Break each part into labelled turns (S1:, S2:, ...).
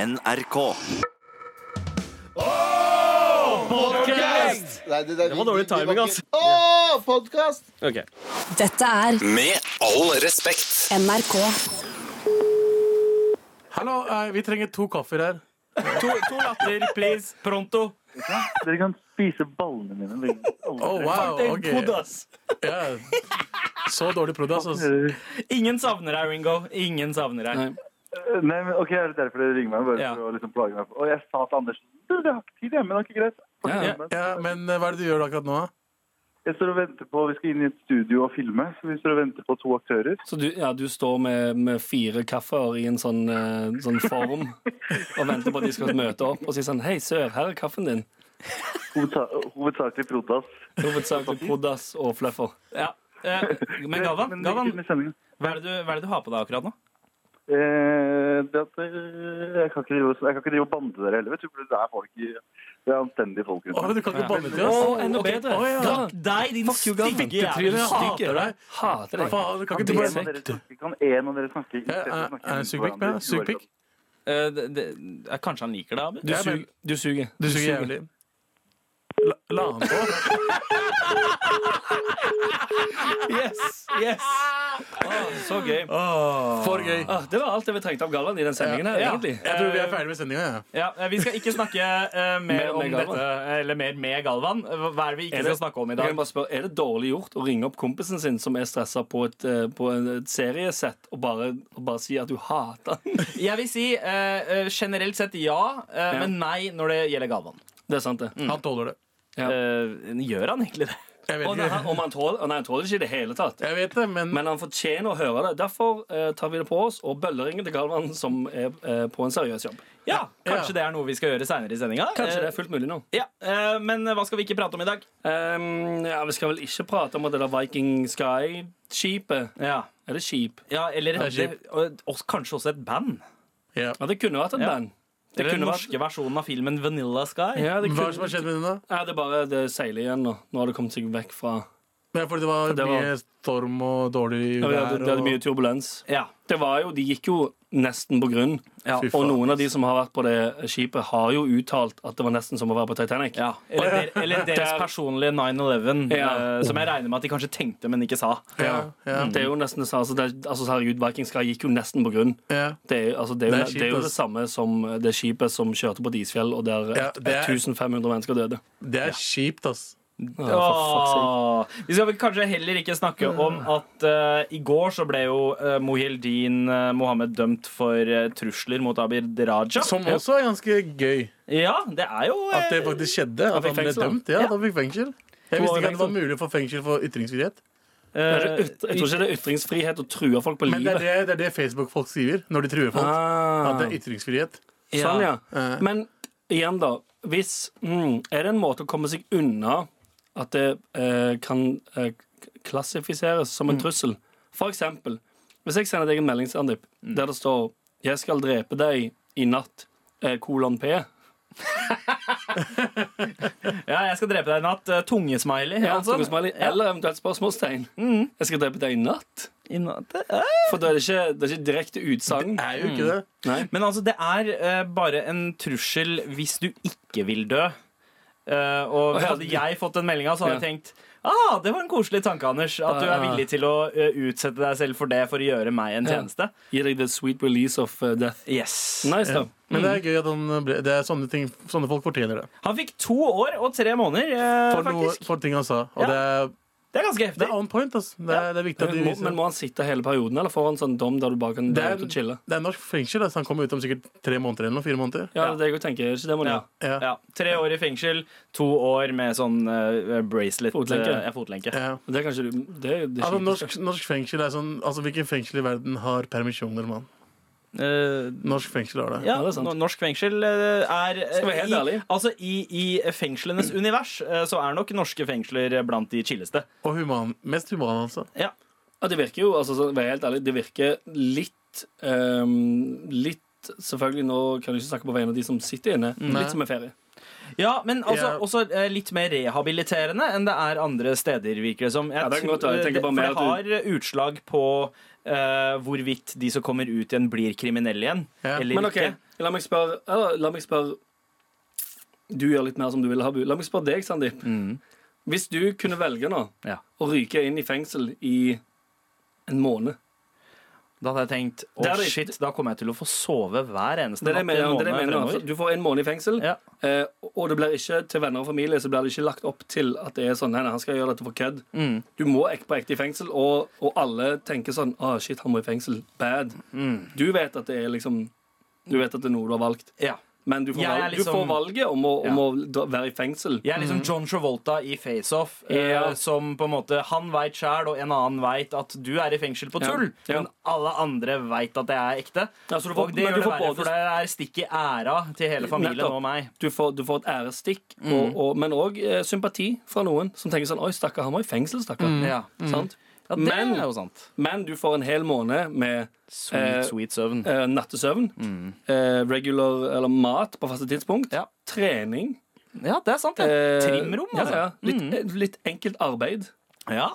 S1: NRK.
S2: Nei, det, det,
S3: var dårlig timing, altså. ass.
S2: Åh, podcast!
S3: Ok.
S4: Dette er
S1: Med all respekt.
S4: NRK.
S5: Hallo, eh, vi trenger to kaffer her.
S3: To, to latter, please. Pronto.
S6: Dere kan spise ballene mine. dere.
S5: Oh, wow, ok. Ja. Så dårlig prod, altså.
S3: Ingen savner deg, Ringo. Ingen savner deg.
S6: Nei, men, ok, er det derfor dere ringer meg? Bare
S3: Ja.
S6: for å liksom plage meg. Og jeg sa til Anders du, jeg har ikke tid, jeg, men det er ikke greit.
S3: Ja,
S5: Ja, men eh, hva er det du gjør akkurat nå? da?
S6: Jeg står og venter på, Vi skal inn i et studio og filme, så vi står og venter på to aktører.
S7: Så du, ja, du står med, med fire kaffer i en sånn, eh, sånn form og venter på at de skal møte opp og si sånn Hei, sør, her er kaffen din.
S6: Hovedsa hovedsakelig Protas.
S7: Hovedsakelig Prodas og Fluffer.
S3: ja. Eh, Men Gavan,
S6: Men det er
S3: Gavan
S6: ikke med sendingen.
S3: hva, er det du, hva er det du har på deg akkurat nå?
S6: Eh, det at, eh, jeg, kan ikke drive, og- jeg kan ikke drive og bande dere heller. vet du, for Det er folk i, det er anstendige folk rundt
S5: Å,
S6: meg.
S5: du kan ikke banne til
S7: Å,
S5: oss.
S7: enda bedre.
S5: Å, ja.
S7: Gavan.
S3: Deg, din
S7: Gavan.
S3: stygge
S5: Tryne,
S3: jævel.
S5: jeg hater deg.
S7: Hater deg.
S5: Faen, du kan ikke du
S6: En
S5: bare
S6: av dere snakker, kan en av dere snakke?
S5: Ja, eh, Er er det sugepikk med? Sugepikk?
S3: Eh, det- det- eh, Kanskje han liker deg, Abu?
S7: Du, sug, du suger.
S5: Du suger jævlig. La, la han på.
S7: Yes! yes.
S3: Så gøy.
S5: For gøy.
S7: Ah, det var alt det vi trengte av Galvan i den sendingen her,
S3: Ja.
S7: egentlig.
S5: Jeg tror vi er ferdig med sendinga. Ja.
S3: Ja, eh, vi skal ikke snakke eh, mer
S7: Mer
S3: om
S7: med Galvan.
S3: dette, eller mer med Galvan. Hva er det vi ikke
S7: Er det-
S3: skal snakke om i
S7: Jeg
S3: dag?
S7: kan bare spørre, Er det dårlig gjort å ringe opp kompisen sin som er stressa på et, eh, på en- et seriesett, og bare, og bare si at du hater han?
S3: Jeg vil si eh, eh, generelt sett ja, eh,
S7: Ja.
S3: men nei når det gjelder Galvan.
S7: Det er sant, det.
S3: Mm.
S5: Han tåler det.
S7: Ja.
S3: Eh, gjør han egentlig det?
S5: Jeg
S7: Og
S5: vet
S7: nei, han-
S5: ikke.
S7: om han tåler, nei, han tåler det ikke i det hele tatt.
S5: Jeg vet det, men
S7: Men han fortjener å høre det. Derfor eh, tar vi det på oss og bølleringer til Galvan, som er eh, på en seriøs jobb.
S3: Ja, Kanskje det er noe vi skal gjøre seinere i sendinga.
S7: Kanskje det er fullt mulig nå.
S3: Ja, eh, Men hva skal vi ikke prate om i dag?
S7: Ehm, ja, Vi skal vel ikke prate om det der Viking Sky-skipet.
S3: Ja,
S7: Er det skip?
S3: Eller
S5: Det er
S3: det- og, og kanskje også et band.
S5: ja.
S7: Ja, det kunne vært et
S3: Ja.
S7: band. Det
S3: Eller den
S7: kunne vært
S3: norske versjonen av filmen Vanilla Sky.
S7: ja, det,
S5: Hva er det som
S7: kunne,
S5: har skjedd med den, da?
S7: ja, det er bare det seiler igjen nå. Nå har det kommet seg vekk fra
S5: Det er fordi det var,
S7: Det var-
S5: mye storm og dårlig
S7: ja,
S5: vær.
S7: det, hadde, det hadde mye turbulens.
S3: Ja.
S7: Det var jo, De gikk jo nesten på grunn.
S3: Ja.
S5: Fy faen.
S7: Og noen av de som har vært på det skipet, har jo uttalt at det var nesten som å være på Titanic.
S3: Ja, eller, der, eller deres
S7: Der-
S3: personlige 9-11,
S7: Ja.
S3: eh, som jeg regner med at de kanskje tenkte, men ikke sa.
S5: og- Ja, ja,
S7: Det er jo nesten det samme. Altså, det er- altså, herregud, Viking Sky gikk jo nesten på grunn.
S5: ja.
S7: Det er, jo- altså, det er, jo,
S5: Det er
S7: det, er
S5: skipet,
S7: jo det
S5: altså.
S7: samme som det skipet som kjørte på et isfjell, og der
S5: Ja, det er-
S7: 1500 mennesker døde.
S5: Det er kjipt, ass.
S7: Ja, for fuck's sake.
S3: Åh. Vi skal vel kanskje heller ikke snakke om at eh, i går så ble jo eh, Mohyldin eh, Mohammed dømt for eh, trusler mot Abid Raja.
S5: Som også er ganske gøy.
S3: Ja, det er jo eh,
S5: At det faktisk skjedde. At han
S7: fikk
S5: ble
S7: fengsel, da.
S5: dømt. Ja,
S3: Ja.
S5: at han fikk fengsel. Jeg
S7: år
S5: visste ikke at
S7: i
S5: det var
S7: fengsel.
S5: mulig å få fengsel for ytringsfrihet.
S3: Eh,
S7: Det er yt- Jeg tror ikke det er ytringsfrihet å true folk på
S5: Men det er
S7: livet.
S5: det, det, er det Facebook-folk skriver når de truer folk. At
S7: Ah,
S5: det er ytringsfrihet.
S7: sånn, ja.
S5: Eh.
S7: Men igjen, da. Hvis, mm, er det en måte å komme seg unna at det eh, kan eh, k- klassifiseres som en trussel? For eksempel, hvis jeg sender deg en melding, Sandeep, der det står 'Jeg skal drepe deg i natt', eh, kolon P.
S3: Ja, jeg skal drepe deg i natt. Eh, Tungesmiley.
S7: Ja,
S3: altså.
S5: sånn.
S7: spørsmålsmiley, Eller eventuelt spørsmålstegn.
S5: Mm.
S7: Jeg skal drepe deg i natt.
S3: I natt, eh.
S7: For da er det ikke, det er ikke direkte utsagn.
S5: Det er jo ikke det.
S7: Nei.
S3: Men altså, det er eh, bare en trussel hvis du ikke vil dø. Eh, og
S7: Å, ja,
S3: hadde
S7: du-
S3: jeg fått den meldinga, så hadde jeg
S7: Ja.
S3: tenkt ah, det var en koselig tanke, Anders. At du er
S7: Ah.
S3: villig til å eh, utsette deg selv for det for å gjøre meg en
S7: Ja.
S3: tjeneste.
S7: Gi deg the sweet release of uh, death.
S3: Yes.
S7: Nice, da.
S5: Men det er gøy at han ble Det er sånne, ting, sånne folk fortjener det.
S3: Han fikk to år og tre måneder, eh,
S5: For, noe,
S3: faktisk.
S5: for ting han sa. Og
S3: Ja.
S5: det, er,
S3: Det er ganske
S5: det
S3: heftig.
S5: er on point, ass. Det er, det er viktig at de
S7: Må, men
S5: viser
S7: må han sitte hele perioden, eller får han sånn dom der du bare kan
S5: det
S7: dra
S5: er,
S7: ut og chille?
S5: det er norsk fengsel. ass. Han kommer ut om sikkert tre måneder eller noe, fire måneder.
S7: Ja, det er det jeg også tenker. Er det Ikke det man
S3: Ja.
S7: gjør.
S5: Ja.
S3: Ja, Tre år i fengsel, to år med sånn eh, bracelet
S7: Fotlenke.
S3: eh, ja, fotlenke.
S5: Ja.
S7: Det er kanskje du Det, det
S5: Altså,
S7: skiter seg.
S5: norsk, norsk fengsel er sånn Altså, Hvilken fengsel i verden har permisjoner, mann?
S3: Eh,
S5: Norsk fengsel har det.
S3: Ja,
S7: Ja, det er sant.
S3: no- Norsk fengsel eh, er eh,
S7: Skal være helt
S3: i,
S7: ærlig.
S3: altså, i, I fengslenes univers eh, så er nok norske fengsler eh, blant de chilleste.
S5: Og human, mest human, altså.
S3: Ja.
S7: Ja, det virker jo, altså, sånn, vær helt ærlig, det virker litt ehm, Litt Selvfølgelig, nå kan du ikke snakke på vegne av de som sitter inne. Litt som en ferie.
S3: ja, men altså,
S5: Ja.
S3: også eh, litt mer rehabiliterende enn det er andre steder, virker det som. Jeg
S7: Ja, det kan
S3: tror-
S7: godt være. Jeg tenker
S3: det-
S7: bare mer
S3: for
S7: at
S3: det har eh, utslag på eh, hvorvidt de som kommer ut igjen, blir kriminelle igjen.
S5: Ja.
S3: Eller
S7: Men ok,
S3: ikke.
S7: La meg spørre eller, La meg spørre Du gjør litt mer som du vil, Habu. La meg spørre deg, Sandeep. Hvis du kunne velge nå
S3: Mm, Ja.
S7: å ryke inn i fengsel i en måned
S3: Da hadde jeg tenkt å
S7: Det er det-
S3: shit, da kommer jeg til å få sove hver eneste
S7: Det er det jeg mener.
S3: natt i
S7: Det er det jeg
S3: måneden
S7: mener altså.
S3: fremover.
S7: du får en måned i fengsel,
S3: Ja.
S7: eh, og det blir ikke til venner og familie Så blir det ikke lagt opp til at det er sånn Nei, nei han skal gjøre dette for kødd.
S3: mm,
S7: Du må ek på ekte i fengsel, og, og alle tenker sånn Å, shit, han må i fengsel. Bad.
S3: Mm.
S7: Du vet at det er liksom Du vet at det er noe du har valgt.
S3: Ja.
S7: Men du får,
S3: Jeg er
S7: valg, du
S3: liksom-
S7: får valget om å,
S3: Ja.
S7: om å dra- være i fengsel.
S3: Jeg er liksom John Travolta i Face Off, eh,
S7: Mm. Ja.
S3: som på en måte Han veit sjæl, og en annen veit at du er i fengsel på
S7: Ja.
S3: tull,
S7: Ja.
S3: men alle andre veit at det er ekte.
S7: Ja, så du får-
S3: og det
S7: men
S3: gjør
S7: du
S3: det
S7: får
S3: verre,
S7: både-
S3: for det er stikk i æra til hele familien
S7: Nettopp.
S3: og meg.
S7: Du får, du får et æresstikk,
S3: Mm.
S7: og, og, men òg eh, sympati fra noen som tenker sånn Oi, stakkar, han var i fengsel, stakkar.
S3: Ja.
S7: Sant?
S3: Ja, det
S7: Men-
S3: er jo sant.
S7: Men du får en hel måned med
S3: Sweet,
S7: Eh,
S3: sweet søvn.
S7: eh, nattesøvn, eh, regular eller mat på faste tidspunkt,
S3: Mm. Ja.
S7: trening
S3: Ja, det er sant. det.
S7: eh,
S3: Trimrom,
S7: ja,
S3: altså.
S7: ja, litt, eh, litt enkelt arbeid.
S3: Ja.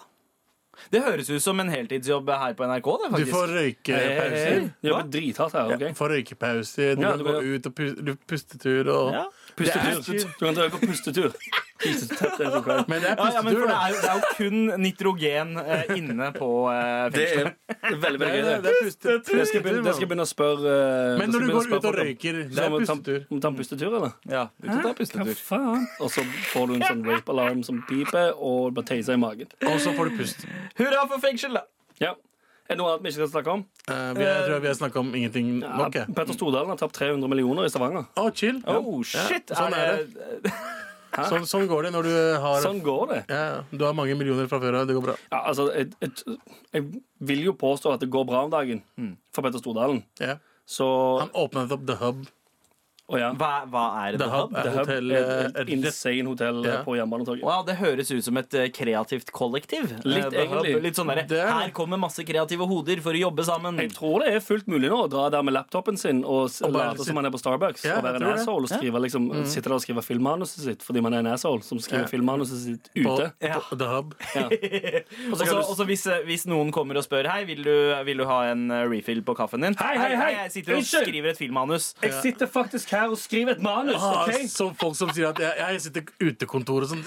S3: Det høres ut som en heltidsjobb her på NRK, det,
S5: Du
S3: faktisk. Eh,
S5: får røykepauser.
S7: Jobber drithardt her. ok?
S5: Du får røykepauser, du
S7: Ja,
S5: kan
S7: det
S5: gå
S7: blir-
S5: ut og pu- du- pustetur og
S3: Ja.
S5: Det er
S7: Pustetur.
S5: ikke-
S7: Du kan dra på pustetur. Pustetur, det er så klart.
S5: Men det er
S3: Ja, ja, men
S5: pustetur,
S3: for det
S5: da.
S3: er jo, det er jo kun nitrogen eh, inne på eh,
S7: Det
S3: fengselet.
S7: er veldig, veldig
S5: Det
S7: gøy.
S5: er-
S7: det.
S5: det er pustetur.
S7: Jeg skal begynne, jeg skal begynne å spørre eh,
S5: Men
S7: jeg skal
S5: når du
S7: begynne å
S5: går ut
S7: spørre
S5: og
S7: folk om-
S5: røyker, det
S7: Så
S5: er
S7: må vi ta-
S5: pustetur.
S7: Må vi ta en pustetur, eller?
S3: Ja, du kan ta pustetur.
S7: Faen. Og så får du en sånn rape alarm som piper, og bare teiser i magen.
S5: Og så får du pust.
S3: Hurra for fengsel, da!
S7: Ja. Er det noe annet vi ikke skal snakke om?
S5: Eh, vi, jeg tror vi har snakka om ingenting nok. jeg.
S7: Ja, Petter Stordalen har tapt 300 millioner i Stavanger.
S5: Å, chill.
S3: Oh, shit!
S5: Ja, sånn er
S3: det
S5: Sånn, sånn går det når du har
S7: Sånn går det.
S5: ja, ja. Du har mange millioner fra før av. Det går bra.
S7: Ja, altså, jeg, jeg, jeg vil jo påstå at det går bra om dagen for Petter Stordalen.
S5: Ja. Mm.
S7: Så
S5: Han åpnet opp The Hub.
S7: Å ja.
S3: hva, hva er det?
S5: The Hub er
S7: Det her
S5: hotell
S7: er et
S5: eh, rett-
S7: insane hotell eh,
S5: Ja.
S7: på Jernbanetorget.
S3: Wow, det høres ut som et eh, kreativt kollektiv.
S7: Litt
S3: Eh, The Hub.
S7: egentlig.
S3: Litt sånn der,
S5: Det er det.
S3: Her kommer masse kreative hoder for å jobbe sammen.
S7: Jeg tror det er fullt mulig nå å dra der med laptopen sin og, s-
S5: Og bare
S7: late
S5: sit-
S7: som man er på Starbucks
S5: Ja,
S7: og være
S5: jeg
S7: en
S5: tror det.
S7: asshole og skrive, liksom, sitte der og skrive filmmanuset sitt fordi man er en asshole som skriver
S5: Ja.
S7: filmmanuset sitt
S5: på,
S7: ute.
S3: Ja.
S5: på The Hub.
S3: Og så og så hvis, eh, hvis noen kommer og spør Hei, vil du, vil du ha en eh, refill på kaffen din?
S7: Hei, hei, hei.
S3: Jeg sitter og
S7: Unnskyld.
S3: skriver et filmmanus.
S7: Jeg sitter faktisk her og skriver et manus,
S5: Ah,
S7: OK?
S5: Som folk som sier at jeg, jeg sitter i utekontor og sånn.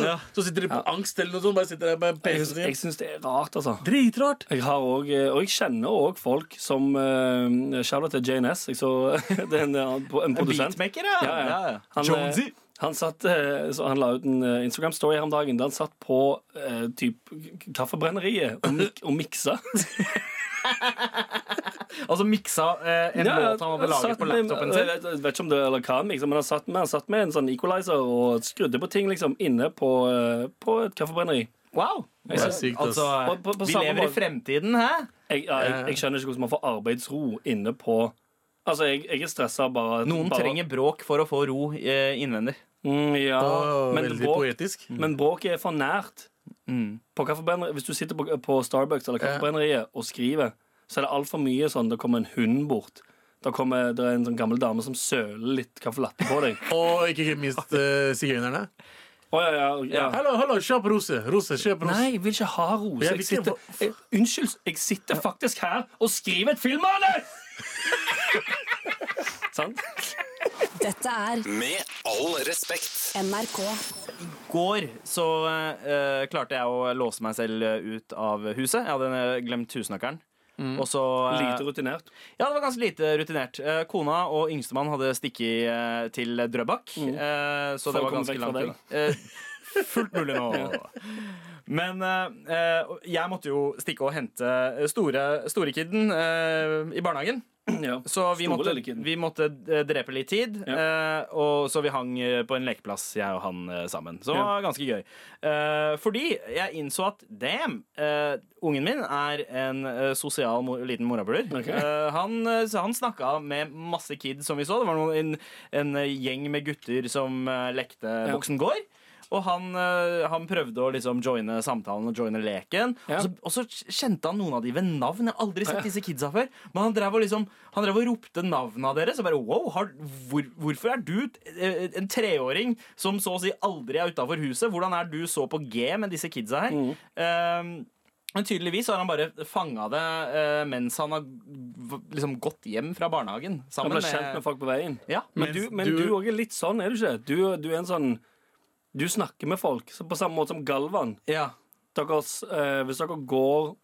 S3: Ja.
S5: Så sitter de på angst eller noe sånt. Bare sitter der med
S7: Jeg,
S5: PC-en
S7: jeg
S5: sin.
S7: syns det er rart, altså.
S5: Dritrart.
S7: Jeg har også, eh, og jeg kjenner òg folk som uh, Shout-out til JNS. Jeg så, det er en, annen- en produsent.
S3: Beatmaker, ja.
S7: Ja, ja. Han, eh,
S3: Jonesy.
S7: Han, satt, eh, så han la ut en eh, Instagram-story her om dagen der han satt på eh, typ k- Kaffebrenneriet og, mik og miksa.
S3: Altså miksa eh, en låt han hadde laget
S7: satt
S3: på
S7: med- eh,
S3: laptopen
S7: Jeg
S3: sin.
S7: vet, jeg vet ikke om det eller hva han miksa, men han satt, med, han satt med en sånn equalizer og skrudde på ting liksom inne på, eh, på et kaffebrenneri.
S3: Wow.
S5: Det er sykt, ass.
S3: Altså,
S7: Og på- på
S3: vi
S7: samme
S3: lever i
S7: måte-
S3: fremtiden, hæ?
S7: Jeg, ja, jeg, jeg skjønner ikke hvordan man får arbeidsro inne på Altså, jeg, jeg er stressa bare
S3: Noen
S7: bare,
S3: trenger bråk for å få ro eh, innvendig.
S7: mm, ja,
S5: Å,
S7: men,
S5: veldig
S7: bråk,
S5: poetisk.
S7: men bråket er for nært. På kaffebrenneriet- Hvis du sitter på, på Starbucks eller kaffebrenneriet og skriver, så er det altfor mye sånn Det kommer en hund bort. Da kommer det er en sånn gammel dame som søler litt caffè latte på deg.
S5: Og ikke minst eh, sigøynerne.
S7: Å, ja, ja, ja.
S5: Hallo, hallo, kjøp rose. Rose, kjøp rose.
S7: Nei, jeg vil ikke ha rose.
S5: Jeg
S7: Jeg
S5: vil ikke-
S7: sitter, jeg, unnskyld, jeg sitter faktisk her og skriver et filmmanus! Sant?
S2: Dette er
S1: Med all respekt.
S2: NRK.
S3: går så eh, klarte jeg å låse meg selv eh, ut av huset. Jeg hadde eh, glemt husnøkkelen. Og så eh,
S7: Mm. Lite rutinert.
S3: Ja, det var ganske lite rutinert. Eh, kona og yngstemann hadde stikket eh, til Drøbak. eh, så
S7: For
S3: det
S7: å
S3: var
S7: Mm. komme
S3: ganske
S7: vekk fra
S3: langt unna. Eh, fullt mulig nå. Men eh, eh, jeg måtte jo stikke og hente eh, store, storekidden eh, i barnehagen.
S7: Ja.
S3: Så vi
S7: Store
S3: måtte,
S7: lille kiden.
S3: vi måtte eh, drepe litt tid, eh, og så vi hang eh, på en lekeplass, jeg og han eh, sammen. Så det
S7: Ja.
S3: var ganske gøy. Eh, fordi jeg innså at damn, eh, ungen min er en eh, sosial mo liten morapuler.
S7: Ok.
S3: Eh, han eh, så han snakka med masse kids som vi så. Det var noen, en, en eh, gjeng med gutter som eh, lekte voksen gård. Og han, eh, han prøvde å liksom joine samtalen og joine leken.
S7: Ja.
S3: Og, så, og så kjente han noen av de ved navn. Jeg har aldri sett disse kidsa før. Men han drev og, liksom, han drev og ropte navnene deres. Og bare wow, har, hvor, hvorfor er du t- eh, en treåring som så å si aldri er utafor huset? Hvordan er du så på G med disse kidsa her? Mm. Men tydeligvis har han bare fanga det eh, mens han har v- liksom gått hjem fra barnehagen.
S7: Han
S3: Sammen
S7: ble kjent med folk på veien.
S3: Ja,
S7: Men
S5: Mens
S7: du, men
S5: du-
S7: du òg er litt sånn, er du ikke? det? Du, du er en sånn Du snakker med folk så på samme måte som Galvan.
S3: ja.
S7: Dere, eh, hvis dere går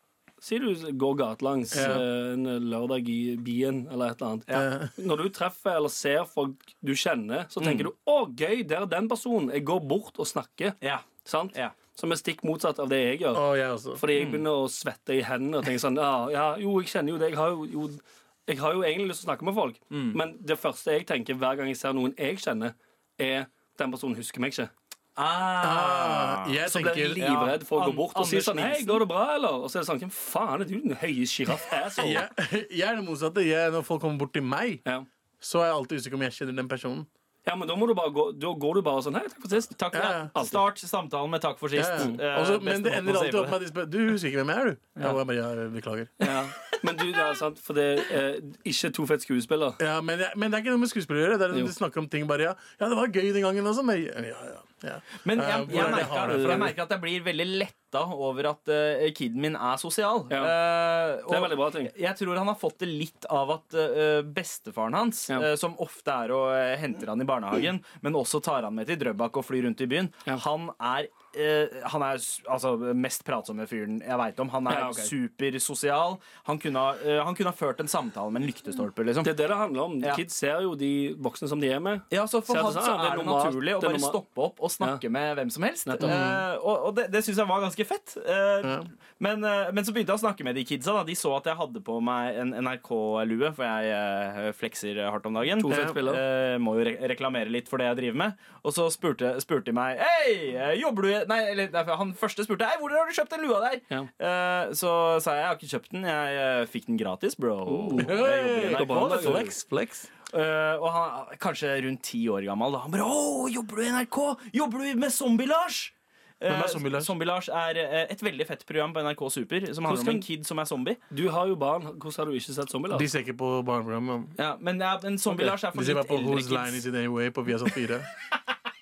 S7: Si du går gatelangs
S5: Ja.
S7: eh, en lørdag i byen eller et eller annet. Når du treffer eller ser folk du kjenner, så
S3: Mm.
S7: tenker du 'Å, gøy, der er den personen'. Jeg går bort og snakker.
S3: ja.
S7: Sant?
S3: Ja.
S7: Som er stikk motsatt av det jeg gjør.
S5: Og jeg også.
S7: Fordi
S3: Mm.
S7: jeg begynner å svette i hendene og tenker sånn ja, ja, Jo, jeg kjenner jo det. Jeg har jo, jo, jeg har jo egentlig lyst til å snakke med folk.
S3: Mm.
S7: Men det første jeg tenker hver gang jeg ser noen jeg kjenner, er den personen husker meg ikke.
S5: Ah, jeg
S7: Så blir
S5: tenker
S7: jeg livredd for å
S3: An-
S7: gå bort og si
S3: Anders
S7: sånn Hei,
S3: Nilsen.
S7: går det bra, eller? Og så er det sånn Hvem faen er du, den høye sjiraff?
S5: jeg, jeg er det motsatte. Jeg, når folk kommer bort til meg,
S7: Ja.
S5: så er jeg alltid usikker om jeg kjenner den personen.
S7: ja, men da må du bare gå Da går du bare sånn Hei, takk for sist.
S3: Takk for
S5: Ja,
S3: det.
S5: ja.
S7: Alltid.
S3: Start samtalen med 'takk for
S5: Ja,
S3: sist'.
S5: ja.
S3: Eh,
S5: Også,
S3: beste
S5: men det
S3: måten
S5: ender
S3: å se
S5: alltid
S3: på
S5: opp med at de spør Du husker ikke hvem jeg er, du? Jeg bare, ja, beklager.
S7: Ja. Men du, det er sant, for det er ikke to fett skuespiller.
S5: Ja, men, jeg, men det er ikke noe med skuespillere å gjøre. Det er
S7: Jo.
S5: når De snakker om ting bare ja, ja, det var gøy den gangen også, men ja, ja, ja.
S3: Men jeg,
S5: Eh,
S3: jeg,
S5: hvor er det jeg
S3: merker,
S5: har det fra?
S3: jeg merker at jeg blir veldig letta over at uh, kiden min er sosial.
S7: Ja.
S3: Eh,
S7: Det er
S3: og
S7: veldig bra ting.
S3: jeg tror han har fått det litt av at eh, bestefaren hans,
S7: Ja.
S3: eh, som ofte er og eh, henter han i barnehagen, men også tar han med til Drøbak og flyr rundt i byen,
S7: Ja.
S3: han er eh, han er s- altså, mest pratsomme fyren jeg veit om. Han er
S7: Ja, ok.
S3: supersosial. Han kunne, ha- eh, han kunne ha ført en samtale med en lyktestolpe. Liksom.
S7: Det er det det handler om.
S3: Ja.
S7: Kids ser jo de voksne som de er med.
S3: Ja, så For
S7: Så er det
S3: han så
S7: sånn, ja, det er
S3: er det
S7: normalt,
S3: naturlig å
S7: det er
S3: bare
S7: normalt.
S3: stoppe opp og snakke med hvem som helst.
S7: Nettopp.
S3: Eh, og og det, det syns jeg var ganske fett. Eh,
S5: Ja.
S3: men, eh, men så begynte jeg å snakke med de kidsa. Da. De så at jeg hadde på meg en NRK-lue, for jeg eh, flekser hardt om dagen.
S7: To fett spiller.
S3: Eh, må jo re reklamere litt for det jeg driver med. Og så spurte, spurte de meg Hei, eh, jobber du i Nei, eller nei, for han første spurte Hei, hvor har du kjøpt den lua der?
S7: Ja.
S3: Eh, så sa jeg jeg har ikke kjøpt den, jeg eh, fikk den gratis, bro. Jeg
S7: Oh.
S3: jobber i
S7: Hey,
S3: NRK, vet du.
S5: Flex, flex.
S3: Eh, og han er kanskje rundt ti år gammel. Da. Han bare 'Å, jobber du i NRK? Jobber du med Zombie-Lars?'
S5: Hvem er
S3: Eh,
S5: Zombie-Lars?
S3: Zombie-Lars er eh, et veldig fett program på NRK Super som handler om
S7: skal-
S3: en kid som er zombie.
S7: Du har jo barn. Hvordan har du ikke sett zombie?
S5: De ser ikke på barneprogram.
S3: Ja, men ja, men Zombie-Lars er for
S5: De ser
S3: litt
S5: bare på
S3: eldre
S5: Who's Line Is
S3: kids.
S5: It Anyway på Viasat 4.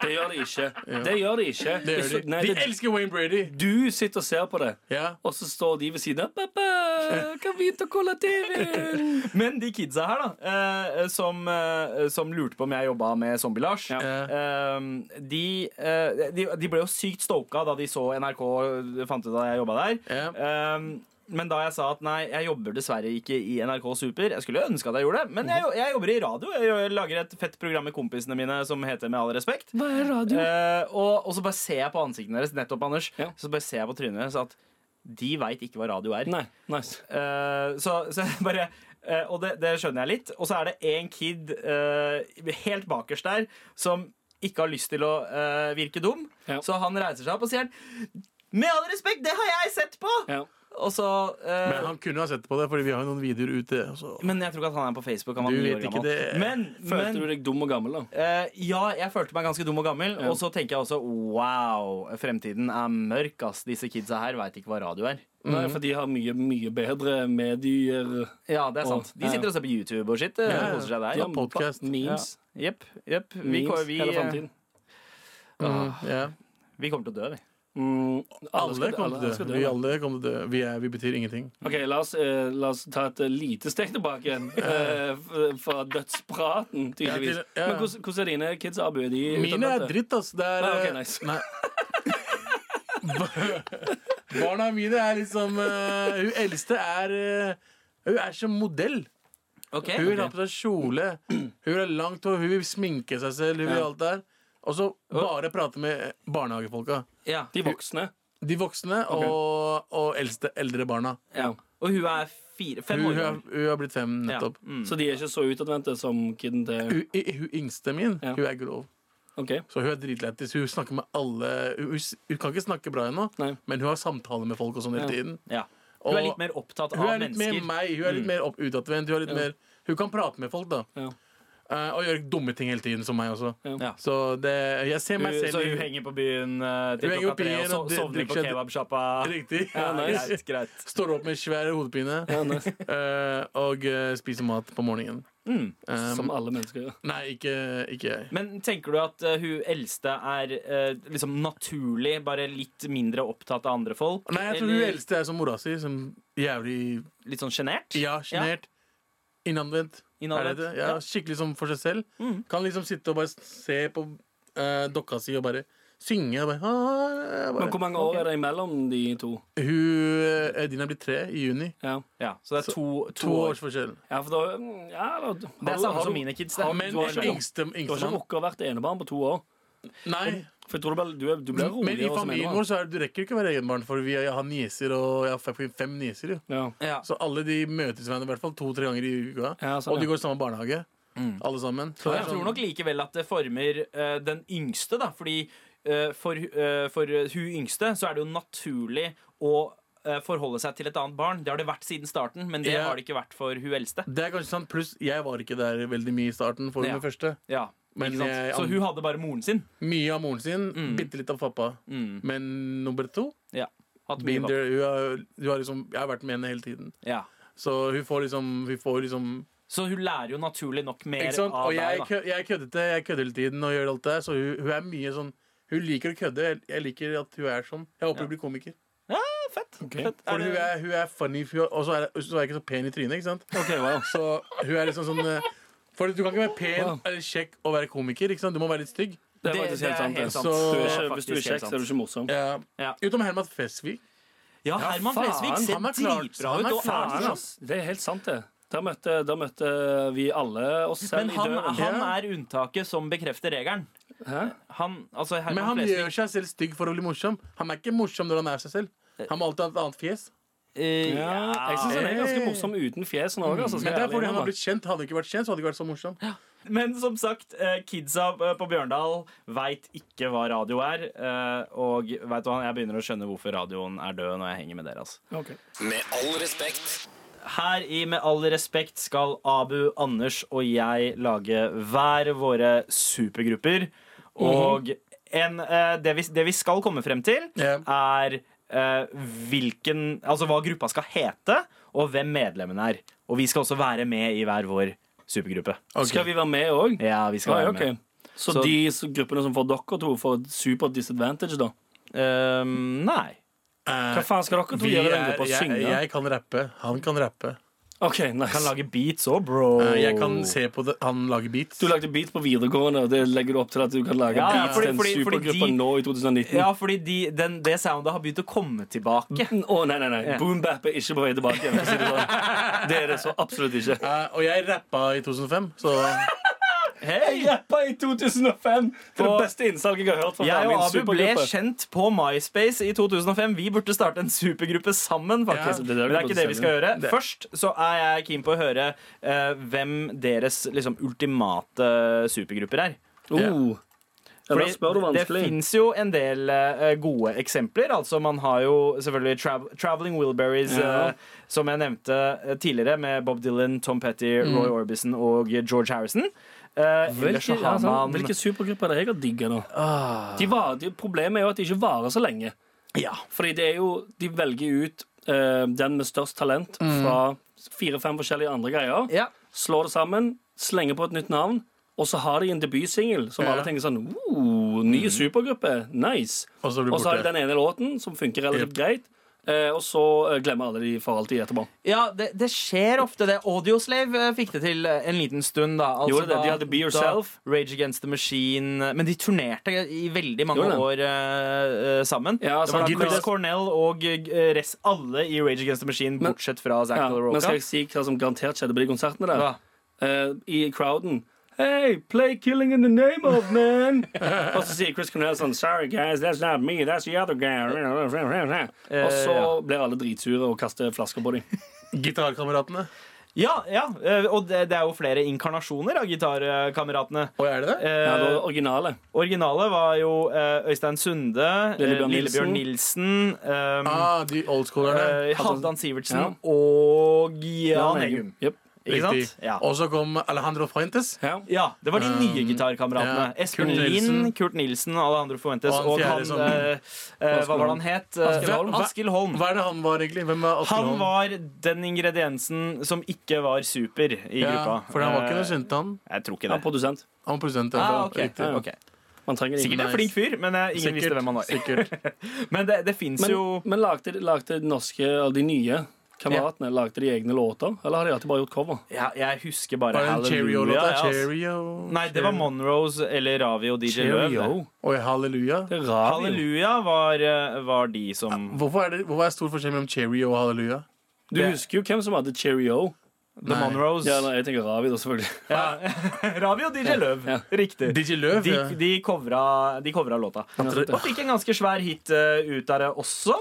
S7: Det gjør de ikke. Det gjør de ikke.
S5: Det gjør de.
S7: Så- Nei,
S5: de
S7: det,
S5: elsker Wayne Brady!
S7: du sitter og ser på det,
S5: Ja.
S7: og så står de ved siden av. Pappa, kan vi ta cola TV-en?
S3: Men de kidsa her, da, eh, som, eh, som lurte på om jeg jobba med Zombie-Lars
S7: Ja.
S3: eh, de, eh, de, de ble jo sykt stoka da de så NRK fant ut at jeg jobba der.
S5: Ja.
S3: Um, men da jeg sa at nei, jeg jobber dessverre ikke i NRK Super Jeg skulle ønske at jeg gjorde det, men jeg, jo- jeg jobber i radio. Jeg gjør- lager et fett program med kompisene mine som heter Med all respekt.
S7: Hva er radio?
S3: Eh, og, og så bare ser jeg på ansiktene deres, nettopp, Anders.
S7: Ja.
S3: Så bare ser jeg på trynet deres at de veit ikke hva radio er.
S7: Nei, nice.
S3: Eh, så, så jeg bare eh, Og det, det skjønner jeg litt. Og så er det en kid eh, helt bakerst der som ikke har lyst til å eh, virke dum.
S7: Ja.
S3: Så han reiser seg opp og sier Med all respekt, det har jeg sett på!
S7: Ja.
S3: Og så eh,
S5: Men han kunne ha sett på det, Fordi vi har jo noen videoer ute. Så.
S3: Men jeg tror ikke at han er på Facebook. Han var
S5: Du
S3: ni
S5: vet
S3: år
S5: ikke
S3: gammel.
S5: det.
S3: Men,
S7: Følte
S3: men
S7: du deg dum og gammel, da?
S3: eh, ja, jeg følte meg ganske dum og gammel. Og så tenker jeg også wow, fremtiden er mørk, ass. Disse kidsa her veit ikke hva radio er.
S5: Mm-hmm.
S7: Nei, for de har mye, mye bedre medier.
S3: Ja, det er
S7: Å,
S3: sant. De
S7: ja, ja.
S3: sitter og ser på YouTube og shit. eh,
S5: ja.
S3: Koser seg der.
S7: De har
S5: podcast.
S7: Memes.
S3: Jepp. jepp. Vi,
S7: Memes
S3: vi,
S5: eh,
S3: eh,
S7: hele fremtiden.
S5: Mm, ja.
S3: vi kommer til å dø, vi.
S7: Mm,
S5: Alle
S7: skal-
S5: kommer til
S7: skal
S5: å dø. Vi
S7: da.
S5: alle kommer til å dø. Vi, er, vi betyr ingenting.
S7: Ok, la oss, eh, la oss ta et eh, lite steg tilbake igjen eh, f- fra dødspraten, tydeligvis.
S5: Ja, til- ja.
S7: Men hvordan, hvordan er dine kids, Abu? Er de
S5: Mine er
S7: utadvendte?
S5: dritt, ass. Det er
S7: Nei, ok,
S5: eh,
S7: nice.
S5: nei. Barna mine er liksom eh, Hun eldste er eh, Hun er som modell. Hun vil ha på seg kjole, hun vil ha langt hår, hun vil sminke seg selv, hun vil
S7: Ja.
S5: alt det der. Og så bare prate med barnehagefolka.
S3: Ja.
S7: De voksne.
S5: De voksne og, og eldste, eldre barna.
S7: Ja.
S3: Og hun er fire, fem
S5: Hun,
S3: år
S5: hun, har,
S3: gammel.
S5: hun har blitt fem nettopp.
S3: Ja. Mm.
S7: Så de er ikke så utadvendte som kiden til
S5: Hun, i- hun yngste min,
S7: Ja.
S5: hun er grov.
S7: OK.
S5: Så hun er dritlættis. Hun snakker med alle Hun, hun, hun kan ikke snakke bra ennå,
S7: Nei.
S5: men hun har samtaler med folk og sånn hele tiden.
S3: Ja. Hun er
S5: Og-
S3: litt mer opptatt av
S5: Hun er litt mer
S3: mennesker. Mm.
S5: meg. Hun er litt mer opp- utadvendt. Hun, er litt mer- hun kan prate med folk, da.
S7: Ja.
S5: Eh, og gjør dumme ting hele tiden, som meg også.
S3: Ja.
S5: Så det, jeg ser
S3: Hun,
S5: meg selv
S3: så
S5: i-
S3: hun henger på byen eh, til
S5: Hun
S3: klokka
S5: henger på
S3: tre og
S5: byen
S3: so
S5: og
S3: sovner på
S5: drikker seg-
S3: kebabsjappa.
S5: Riktig.
S3: Ja,
S5: nice.
S3: greit, greit.
S5: Står opp med svær hodepine
S7: Ja, nice.
S5: eh, og eh, spiser mat på morgenen.
S3: Mm.
S5: Um,
S7: Som alle mennesker gjør.
S5: Nei, ikke, ikke jeg.
S3: Men tenker du at eh, hun eldste er eh, liksom naturlig, bare litt mindre opptatt av andre folk?
S5: Nei, jeg tror hun
S3: Eller
S5: eldste er som mora si. Som jævlig
S3: Litt sånn sjenert?
S5: Ja, sjenert. Innadvendt. Er det
S3: Innadvendt,
S5: det? Ja,
S3: ja. Mm.
S5: skikkelig som for seg selv. Kan liksom sitte og bare se på eh, dokka si og bare synge. Og bare, ah, jeg
S7: Men
S5: bare.
S7: hvor mange år er det imellom de to?
S5: Hun eh, Dina blir tre i juni.
S7: Ja,
S3: Ja, så det er to, to,
S5: To
S3: år.
S5: års forskjell.
S7: ja for da mm, ja, da-
S3: Det er
S7: har du- har
S3: samme
S7: du-
S3: som mine kids. Det.
S7: har-
S5: Men
S7: du har ikke, rukket-
S5: yngste
S7: du har ikke
S5: yngstemann
S7: rukket å vært enebarn på to år.
S5: Nei.
S7: For jeg tror du, ble, du, er- du blir
S5: Men i
S7: roligere som
S5: familien vår
S7: enebarn.
S5: så er, det- du rekker ikke å være enebarn, for vi, jeg har nieser, og jeg har fem, fem nieser. jo
S7: Ja.
S3: Ja.
S5: Så alle de møtes hverandre i hvert fall to-tre ganger i uka.
S7: Ja, sånn,
S5: og de
S7: ja.
S5: går i samme barnehage. Alle sammen.
S3: Og
S5: Så det er
S3: Mm. jeg tror
S5: sånn-
S3: nok likevel at det former eh, den yngste, da. Fordi eh, for, eh, for eh, hun yngste så er det jo naturlig å eh, forholde seg til et annet barn. Det har det vært siden starten, men det
S5: Ja.
S3: har det ikke vært for hun eldste.
S5: det er kanskje sant, Pluss jeg var ikke der veldig mye i starten. for
S3: Ja.
S5: det første
S3: Ja,
S5: Men eh,
S3: ikke sant?
S5: jeg-
S3: Så hun hadde bare moren sin.
S5: Mye av moren sin,
S3: Mm.
S5: bitte litt av pappa. Men nummer to
S3: Ja. Hatt Mm. mye
S5: been
S3: valg.
S5: there, hun har, hun har liksom, Jeg har vært med henne hele tiden.
S3: ja.
S5: Så hun får liksom, hun får liksom
S3: Så hun lærer jo naturlig nok mer
S5: Ikke sant?
S3: av
S5: Og jeg,
S3: deg. da
S5: kø- jeg køddete. Jeg kødder hele tiden og gjør alt det der. Så hun, hun er mye sånn Hun liker å kødde. Jeg, jeg liker at hun er sånn. Jeg håper hun blir komiker.
S3: Ja, fett. fett.
S5: For hun er, hun er funny, hun- og så er, så er hun ikke så pen i trynet. ikke sant?
S7: Ok, wow.
S5: Så hun er liksom sånn eh, For du kan ikke være pen
S7: Wow.
S5: eller kjekk og være komiker. ikke sant? Du må være litt stygg.
S7: Det er
S3: Det-
S7: faktisk
S3: det
S7: helt
S3: er helt
S7: sant. det.
S3: sant.
S5: Så-
S7: Du er
S3: Det er
S7: ikke, hvis du er
S3: faktisk helt
S7: kjekk, så er du ikke morsom.
S3: Ja.
S5: Utenom Herman Flesvig.
S3: Ja, Herman
S7: faen,
S3: Flesvig ser
S5: han er klart-
S3: dritbra ut.
S5: han er
S3: Og
S5: faen,
S3: er
S5: altså.
S3: sånn
S7: ass. Det er helt sant, det. Der møtte, der møtte vi alle oss selv
S3: Men han,
S7: i døren.
S3: han er unntaket som bekrefter regelen.
S7: Hæ?
S3: Han, altså Herman
S5: Men han
S3: Flesvig
S5: gjør seg selv stygg for å bli morsom. Han er ikke morsom når han er seg selv. Han må alltid ha et annet fjes.
S3: eh,
S7: Ja, jeg syns han er ganske morsom uten fjesene òg. Altså,
S5: Men
S7: skal
S5: det
S7: jeg
S5: er fordi
S7: ærlig
S5: han har
S7: innrømme.
S5: blitt kjent. Hadde han ikke vært kjent, så hadde han ikke vært så morsom.
S3: Men som sagt, eh, kidsa eh, på Bjørndal veit ikke hva radio er. eh, Og vet du hva, jeg begynner å skjønne hvorfor radioen er død når jeg henger med dere. altså.
S7: Ok.
S1: Med all respekt.
S3: Her i Med all respekt skal Abu, Anders og jeg lage hver våre supergrupper.
S5: Mhm.
S3: Og en, eh, det, vi, det vi skal komme frem til,
S5: Ja.
S3: er eh, hvilken Altså hva gruppa skal hete, og hvem medlemmene er. Og vi skal også være med i hver vår supergruppe.
S7: Skal vi være med òg?
S3: Ja, vi skal være med.
S7: Så,
S3: Så-
S7: de s- gruppene som får dere to, får et super disadvantage, da?
S3: Ehm, nei.
S5: Eh,
S7: Hva faen skal dere to
S5: Vi
S7: gjøre i den
S5: er,
S7: gruppa?
S5: jeg,
S7: Synge?
S5: jeg kan rappe. Han kan rappe.
S7: OK,
S3: Kan
S7: nice.
S3: lage beats òg, bro.
S5: Eh, Jeg kan se på det. Han lager beats.
S7: Du lagde beats på videregående, og det legger du opp til at du kan lage
S3: Ja, ja,
S7: beats
S3: fordi-
S7: til en
S3: fordi- fordi
S7: supergruppe
S3: de-
S7: nå i 2019?
S3: Ja, fordi de, den, det soundet har begynt å komme
S5: Mm.
S3: tilbake.
S7: Å, nei, nei, nei. Boombap er ikke på vei tilbake. igjen, for å si Det sånn. Det er det så absolutt ikke.
S5: Eh, og jeg rappa i 2005, så
S3: Hei!
S7: Jappa i 2005! Det er
S3: oh Og-
S7: det beste innsalget jeg har hørt fra
S3: Jeg og
S7: min
S3: Abu ble
S7: supergruppe.
S3: kjent på MySpace i 2005. Vi burde starte en supergruppe sammen. faktisk
S7: Ja, det
S3: Men
S7: er det
S3: det er
S7: vi
S3: ikke det vi skal gjøre.
S5: Det-
S3: Først så er jeg keen på å høre eh, hvem deres liksom, ultimate eh, supergrupper er.
S7: Oh. Ja, da
S3: Fordi
S7: spør du
S3: det
S7: vanskelig.
S3: fins jo en del eh, gode eksempler. Altså Man har jo selvfølgelig Trav Traveling Wilburys,
S7: Ja.
S3: eh, som jeg nevnte eh, tidligere, med Bob Dylan, Tom Petty, Roy
S7: Mm.
S3: Orbison og George Harrison. Eh, ellers så
S7: Hvilke, ja,
S3: har
S7: sant.
S3: man Ah.
S7: Hvilke supergrupper er det jeg har digga nå? De var, de, problemet er jo at de ikke varer så lenge.
S3: Ja.
S7: Fordi det er jo, de velger ut eh, den med størst talent
S5: Mm.
S7: fra fire-fem forskjellige andre greier.
S3: Ja.
S7: Slår det sammen, slenger på et nytt navn, og så har de en debutsingel som alle tenker sånn oh, Ny supergruppe. Nice.
S5: Mm. Og så blir det
S7: Og så har de
S5: borte.
S7: den ene låten som funker relativt greit, eh, og så eh, glemmer alle de for alltid etterpå.
S3: Ja, det, det skjer ofte det. Audioslave eh, fikk det til eh, en liten stund, da. Altså,
S7: Gjorde det?
S3: da-
S7: De hadde Be Yourself.
S3: Da Rage Against The Machine. eh, Men de turnerte i veldig mange
S7: Gjorde det?
S3: år eh, eh, sammen.
S7: Ja, altså,
S3: det
S7: sant,
S3: var
S7: men
S3: Chris
S7: det-
S3: Cornell og eh, rest, alle i Rage Against The Machine,
S7: Men-
S3: bortsett fra Zack
S7: Ja, men
S3: Delaroca.
S7: skal jeg si hva som garantert skjedde på de konsertene der?
S3: Hva?
S7: Eh, I crowden Hey, play Killing in the Name of Man! og så sier Chris Cornell sånn Sorry guys, that's not me, that's the other guy. og så
S3: Eh, ja.
S7: blir alle dritsure og kaster flasker på dem.
S5: Gitarkameratene.
S3: Ja, ja. eh, Og det, det er jo flere inkarnasjoner av Gitarkameratene.
S5: Å, er det det?
S3: Eh,
S7: Ja, det var det originale.
S3: Originale var jo eh, Øystein Sunde, eh,
S7: Lillebjørn Ah, eh,
S3: Lillebjørn Nilsen, eh,
S7: altså-
S5: Ah, de oldschoolerne.
S3: eh, Halvdan Sivertsen
S7: Ja.
S3: og Jan Eggum.
S7: Yep.
S3: Ikke sant? Ja.
S5: Og så kom Alejandro Fuentes.
S7: Ja.
S3: Ja, det var de nye gitarkameratene.
S5: ja.
S3: Espen
S5: Kurt Nilsen.
S3: Lien, Kurt Nilsen og Alejandro Fuentes.
S5: Og han
S3: Og han,
S5: fjerde som-
S3: eh, eh, hva var det han het?
S5: Askild
S3: Eh,
S5: Holm.
S3: Askild Holm.
S5: Hva er det han var, egentlig? Hvem var Askild
S3: Han
S5: Holm?
S3: var den ingrediensen som ikke var super i
S5: ja,
S3: gruppa.
S5: For han var ikke
S3: Eh,
S5: noe synt, han.
S3: Jeg tror ikke
S7: Han er
S3: det.
S7: produsent.
S5: Han var produsent. i hvert
S3: Ah,
S5: fall.
S3: ok,
S5: Riktig.
S3: ok.
S7: Man trenger det ikke.
S3: Sikkert en
S5: Nice.
S3: flink fyr, men eh, ingen visste hvem han var.
S5: Sikkert.
S3: Men det, det fins
S7: Men,
S3: jo
S7: men lagde, de- lagde de norske, eller de nye kameratene, lagde de egne låter? Eller har de alltid bare gjort cover?
S3: ja, Jeg husker bare
S5: Var det en Cheerio-låt?
S3: ja, altså.
S5: Cheerio.
S3: Nei, det var Monroes eller Ravi og DJ Løv. det.
S7: Cheerio.
S5: Oi, halleluja.
S7: Det er radio.
S3: Halleluja var, eh, var de som
S5: Hvorfor er det hvorfor er det stor forskjell mellom Cheerio og halleluja?
S7: Du
S3: Det-
S7: husker jo hvem som hadde Cheerio.
S3: The Monroes.
S7: Ja, nei, jeg tenker Ravi, da, selvfølgelig.
S3: Ravi og DJ Løv.
S7: Ja.
S3: Riktig.
S5: DJ Løv,
S3: de,
S5: ja.
S3: de, covra, de covra låta. Og fikk en ganske svær hit eh, ut av det også.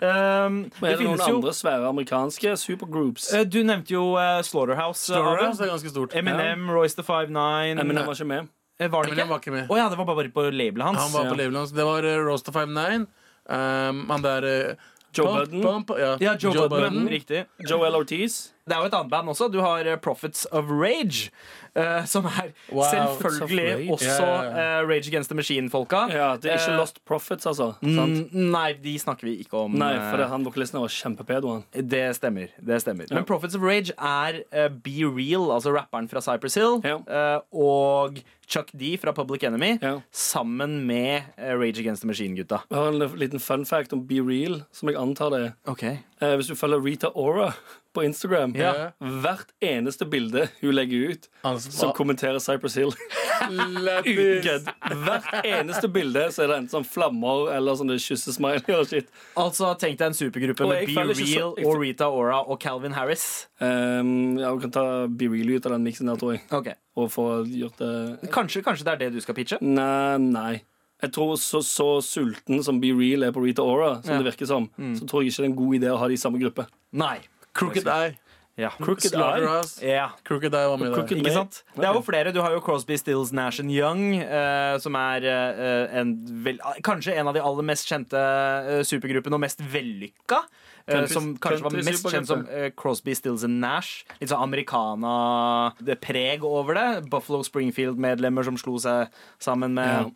S3: Um,
S7: Men
S3: det
S7: er det noen
S3: finnes jo
S7: andre svære amerikanske supergroups?
S3: Eh, Du nevnte jo eh, Slaughterhouse. eh, Abu.
S5: Slaughterhouse er ganske stort.
S3: Eminem, Royce the Five Nine
S7: Nei, men den var ikke med.
S3: Eh, Var det
S5: Eminem var
S3: ikke?
S5: ikke med.
S3: Å ja, det var bare på labelet hans.
S5: Han var på
S7: Ja.
S5: labelen hans. Det var uh, Roast of 59. Um, han der eh,
S7: Joe
S5: Pump,
S7: Budden.
S5: Pump, ja.
S3: Ja, Joe, Budden. Riktig.
S7: Joel Ortiz.
S3: Det er jo et annet band også. Du har eh, Prophets of Rage. eh, som er
S5: Wow.
S3: selvfølgelig
S7: Prophets
S3: også
S5: Rage. Ja, ja,
S3: eh, Rage Against the Machine-folka.
S7: Ja, det er ikke
S3: Eh,
S7: Lost Profits, altså. Sant?
S3: Mm, Nei, de snakker vi ikke om.
S7: Nei,
S3: eh,
S7: for det, han vokalisten var kjempepedo, han.
S3: Det stemmer. det stemmer Men Prophets of Rage er eh, Be Real, altså rapperen fra Cypress Hill,
S7: Ja.
S3: eh, og Chuck D fra Public Enemy
S7: Ja.
S3: sammen med eh, Rage Against the Machine-gutta.
S7: Jeg har en liten fun fact om Be Real, som jeg antar det er.
S3: Ok
S7: Eh, hvis du følger Rita Ora på Instagram,
S5: Ja.
S7: hvert eneste bilde hun legger ut,
S5: Han
S7: som
S5: som
S7: kommenterer Cypress Hill Uten kødd. Hvert eneste bilde så er det enten sånn flammer eller sånne kyssesmiley og shit.
S3: Altså, Tenk deg en supergruppe
S7: Og
S3: med
S7: jeg
S3: Be
S7: føler ikke så-
S3: Real
S7: jeg-
S3: og Rita Ora og Calvin Harris.
S7: Um, ja, vi kan ta Be Real ut av den miksen der, tror jeg.
S3: Ok
S7: Og få gjort det
S3: Kanskje, kanskje det er det du skal pitche?
S7: Nei, nei. Jeg tror så, så sulten som Be Real er på Rita Ora, som
S3: Ja.
S7: det virker som, så tror jeg ikke det er en god idé å ha de i samme gruppe.
S3: Nei.
S5: Crooked Eye.
S3: Ja.
S7: Crooked Eye.
S5: Slaughterhouse.
S3: ja.
S5: Crooked Eye var med der.
S7: Crooked
S3: Ikke
S7: Eye.
S3: sant? Det er jo flere. Du har jo Crosby, Stills, Nash and Young, eh, som er eh, en vel, kanskje en av de aller mest kjente eh, supergruppene, og mest vellykka. eh,
S7: Country-
S3: som kanskje var
S7: country
S3: mest
S7: supergruppe.
S3: kjent som eh, Crosby, Stills and Nash. Litt sånn americana-preg over det. Buffalo Springfield-medlemmer som slo seg sammen med
S7: Ja.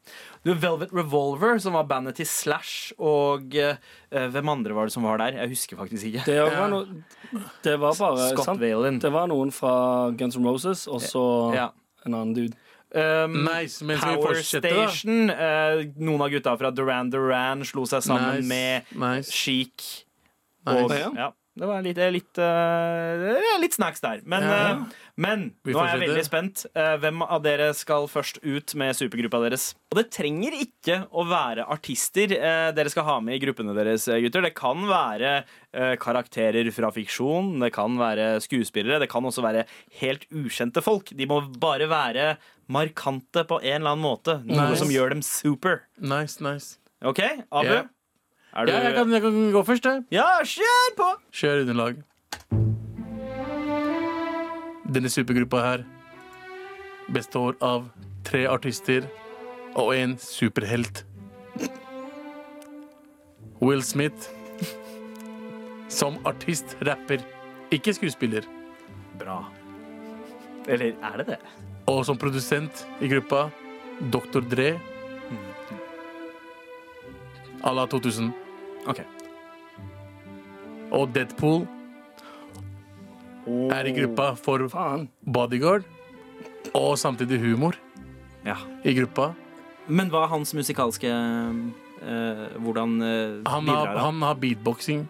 S3: Du, Velvet Revolver, som var bandet til Slash, og eh, hvem andre var det som var der? Jeg husker faktisk ikke.
S7: Det var, noe, det var bare
S3: Scott
S7: sant?
S3: Valen.
S7: Det var noen fra Guns N' Roses, og så
S3: Ja.
S7: en annen dude.
S3: Um,
S5: Nice, men skal vi
S3: Power
S5: fortsette, da?
S3: Station. eh, noen av gutta fra Duran Duran slo seg sammen
S5: Nice,
S3: med
S5: nice.
S3: Chic.
S5: Nice.
S3: Og,
S7: Ja.
S3: ja, det var litt, litt, eh, det er litt snacks der. Men,
S5: Ja.
S3: eh, men
S5: Vi
S3: nå er jeg
S5: fortsetter.
S3: veldig spent. Eh, hvem av dere skal først ut med supergruppa deres? Og det trenger ikke å være artister eh, dere skal ha med i gruppene deres, eh, gutter. Det kan være eh, karakterer fra fiksjon, det kan være skuespillere, det kan også være helt ukjente folk. De må bare være markante på en eller annen måte. Noe
S5: Nice.
S3: som gjør dem super.
S5: Nice, nice.
S3: OK, Abu?
S5: Ja.
S3: Er du
S5: Ja, jeg kan, jeg kan gå først, jeg.
S3: ja, kjør på!
S5: Kjør underlag. Denne supergruppa her består av tre artister og en superhelt. Will Smith som artist, rapper, ikke skuespiller.
S3: Bra. Eller er det det?
S5: Og som produsent i gruppa Dr. Dre. À la 2000.
S3: Ok.
S5: Og Deadpool er i gruppa for
S7: Faen.
S5: bodyguard og samtidig humor
S3: Ja.
S5: i gruppa.
S3: Men hva er hans musikalske eh, Hvordan eh,
S5: Han
S3: bidrar
S5: har,
S3: han?
S5: han har beatboxing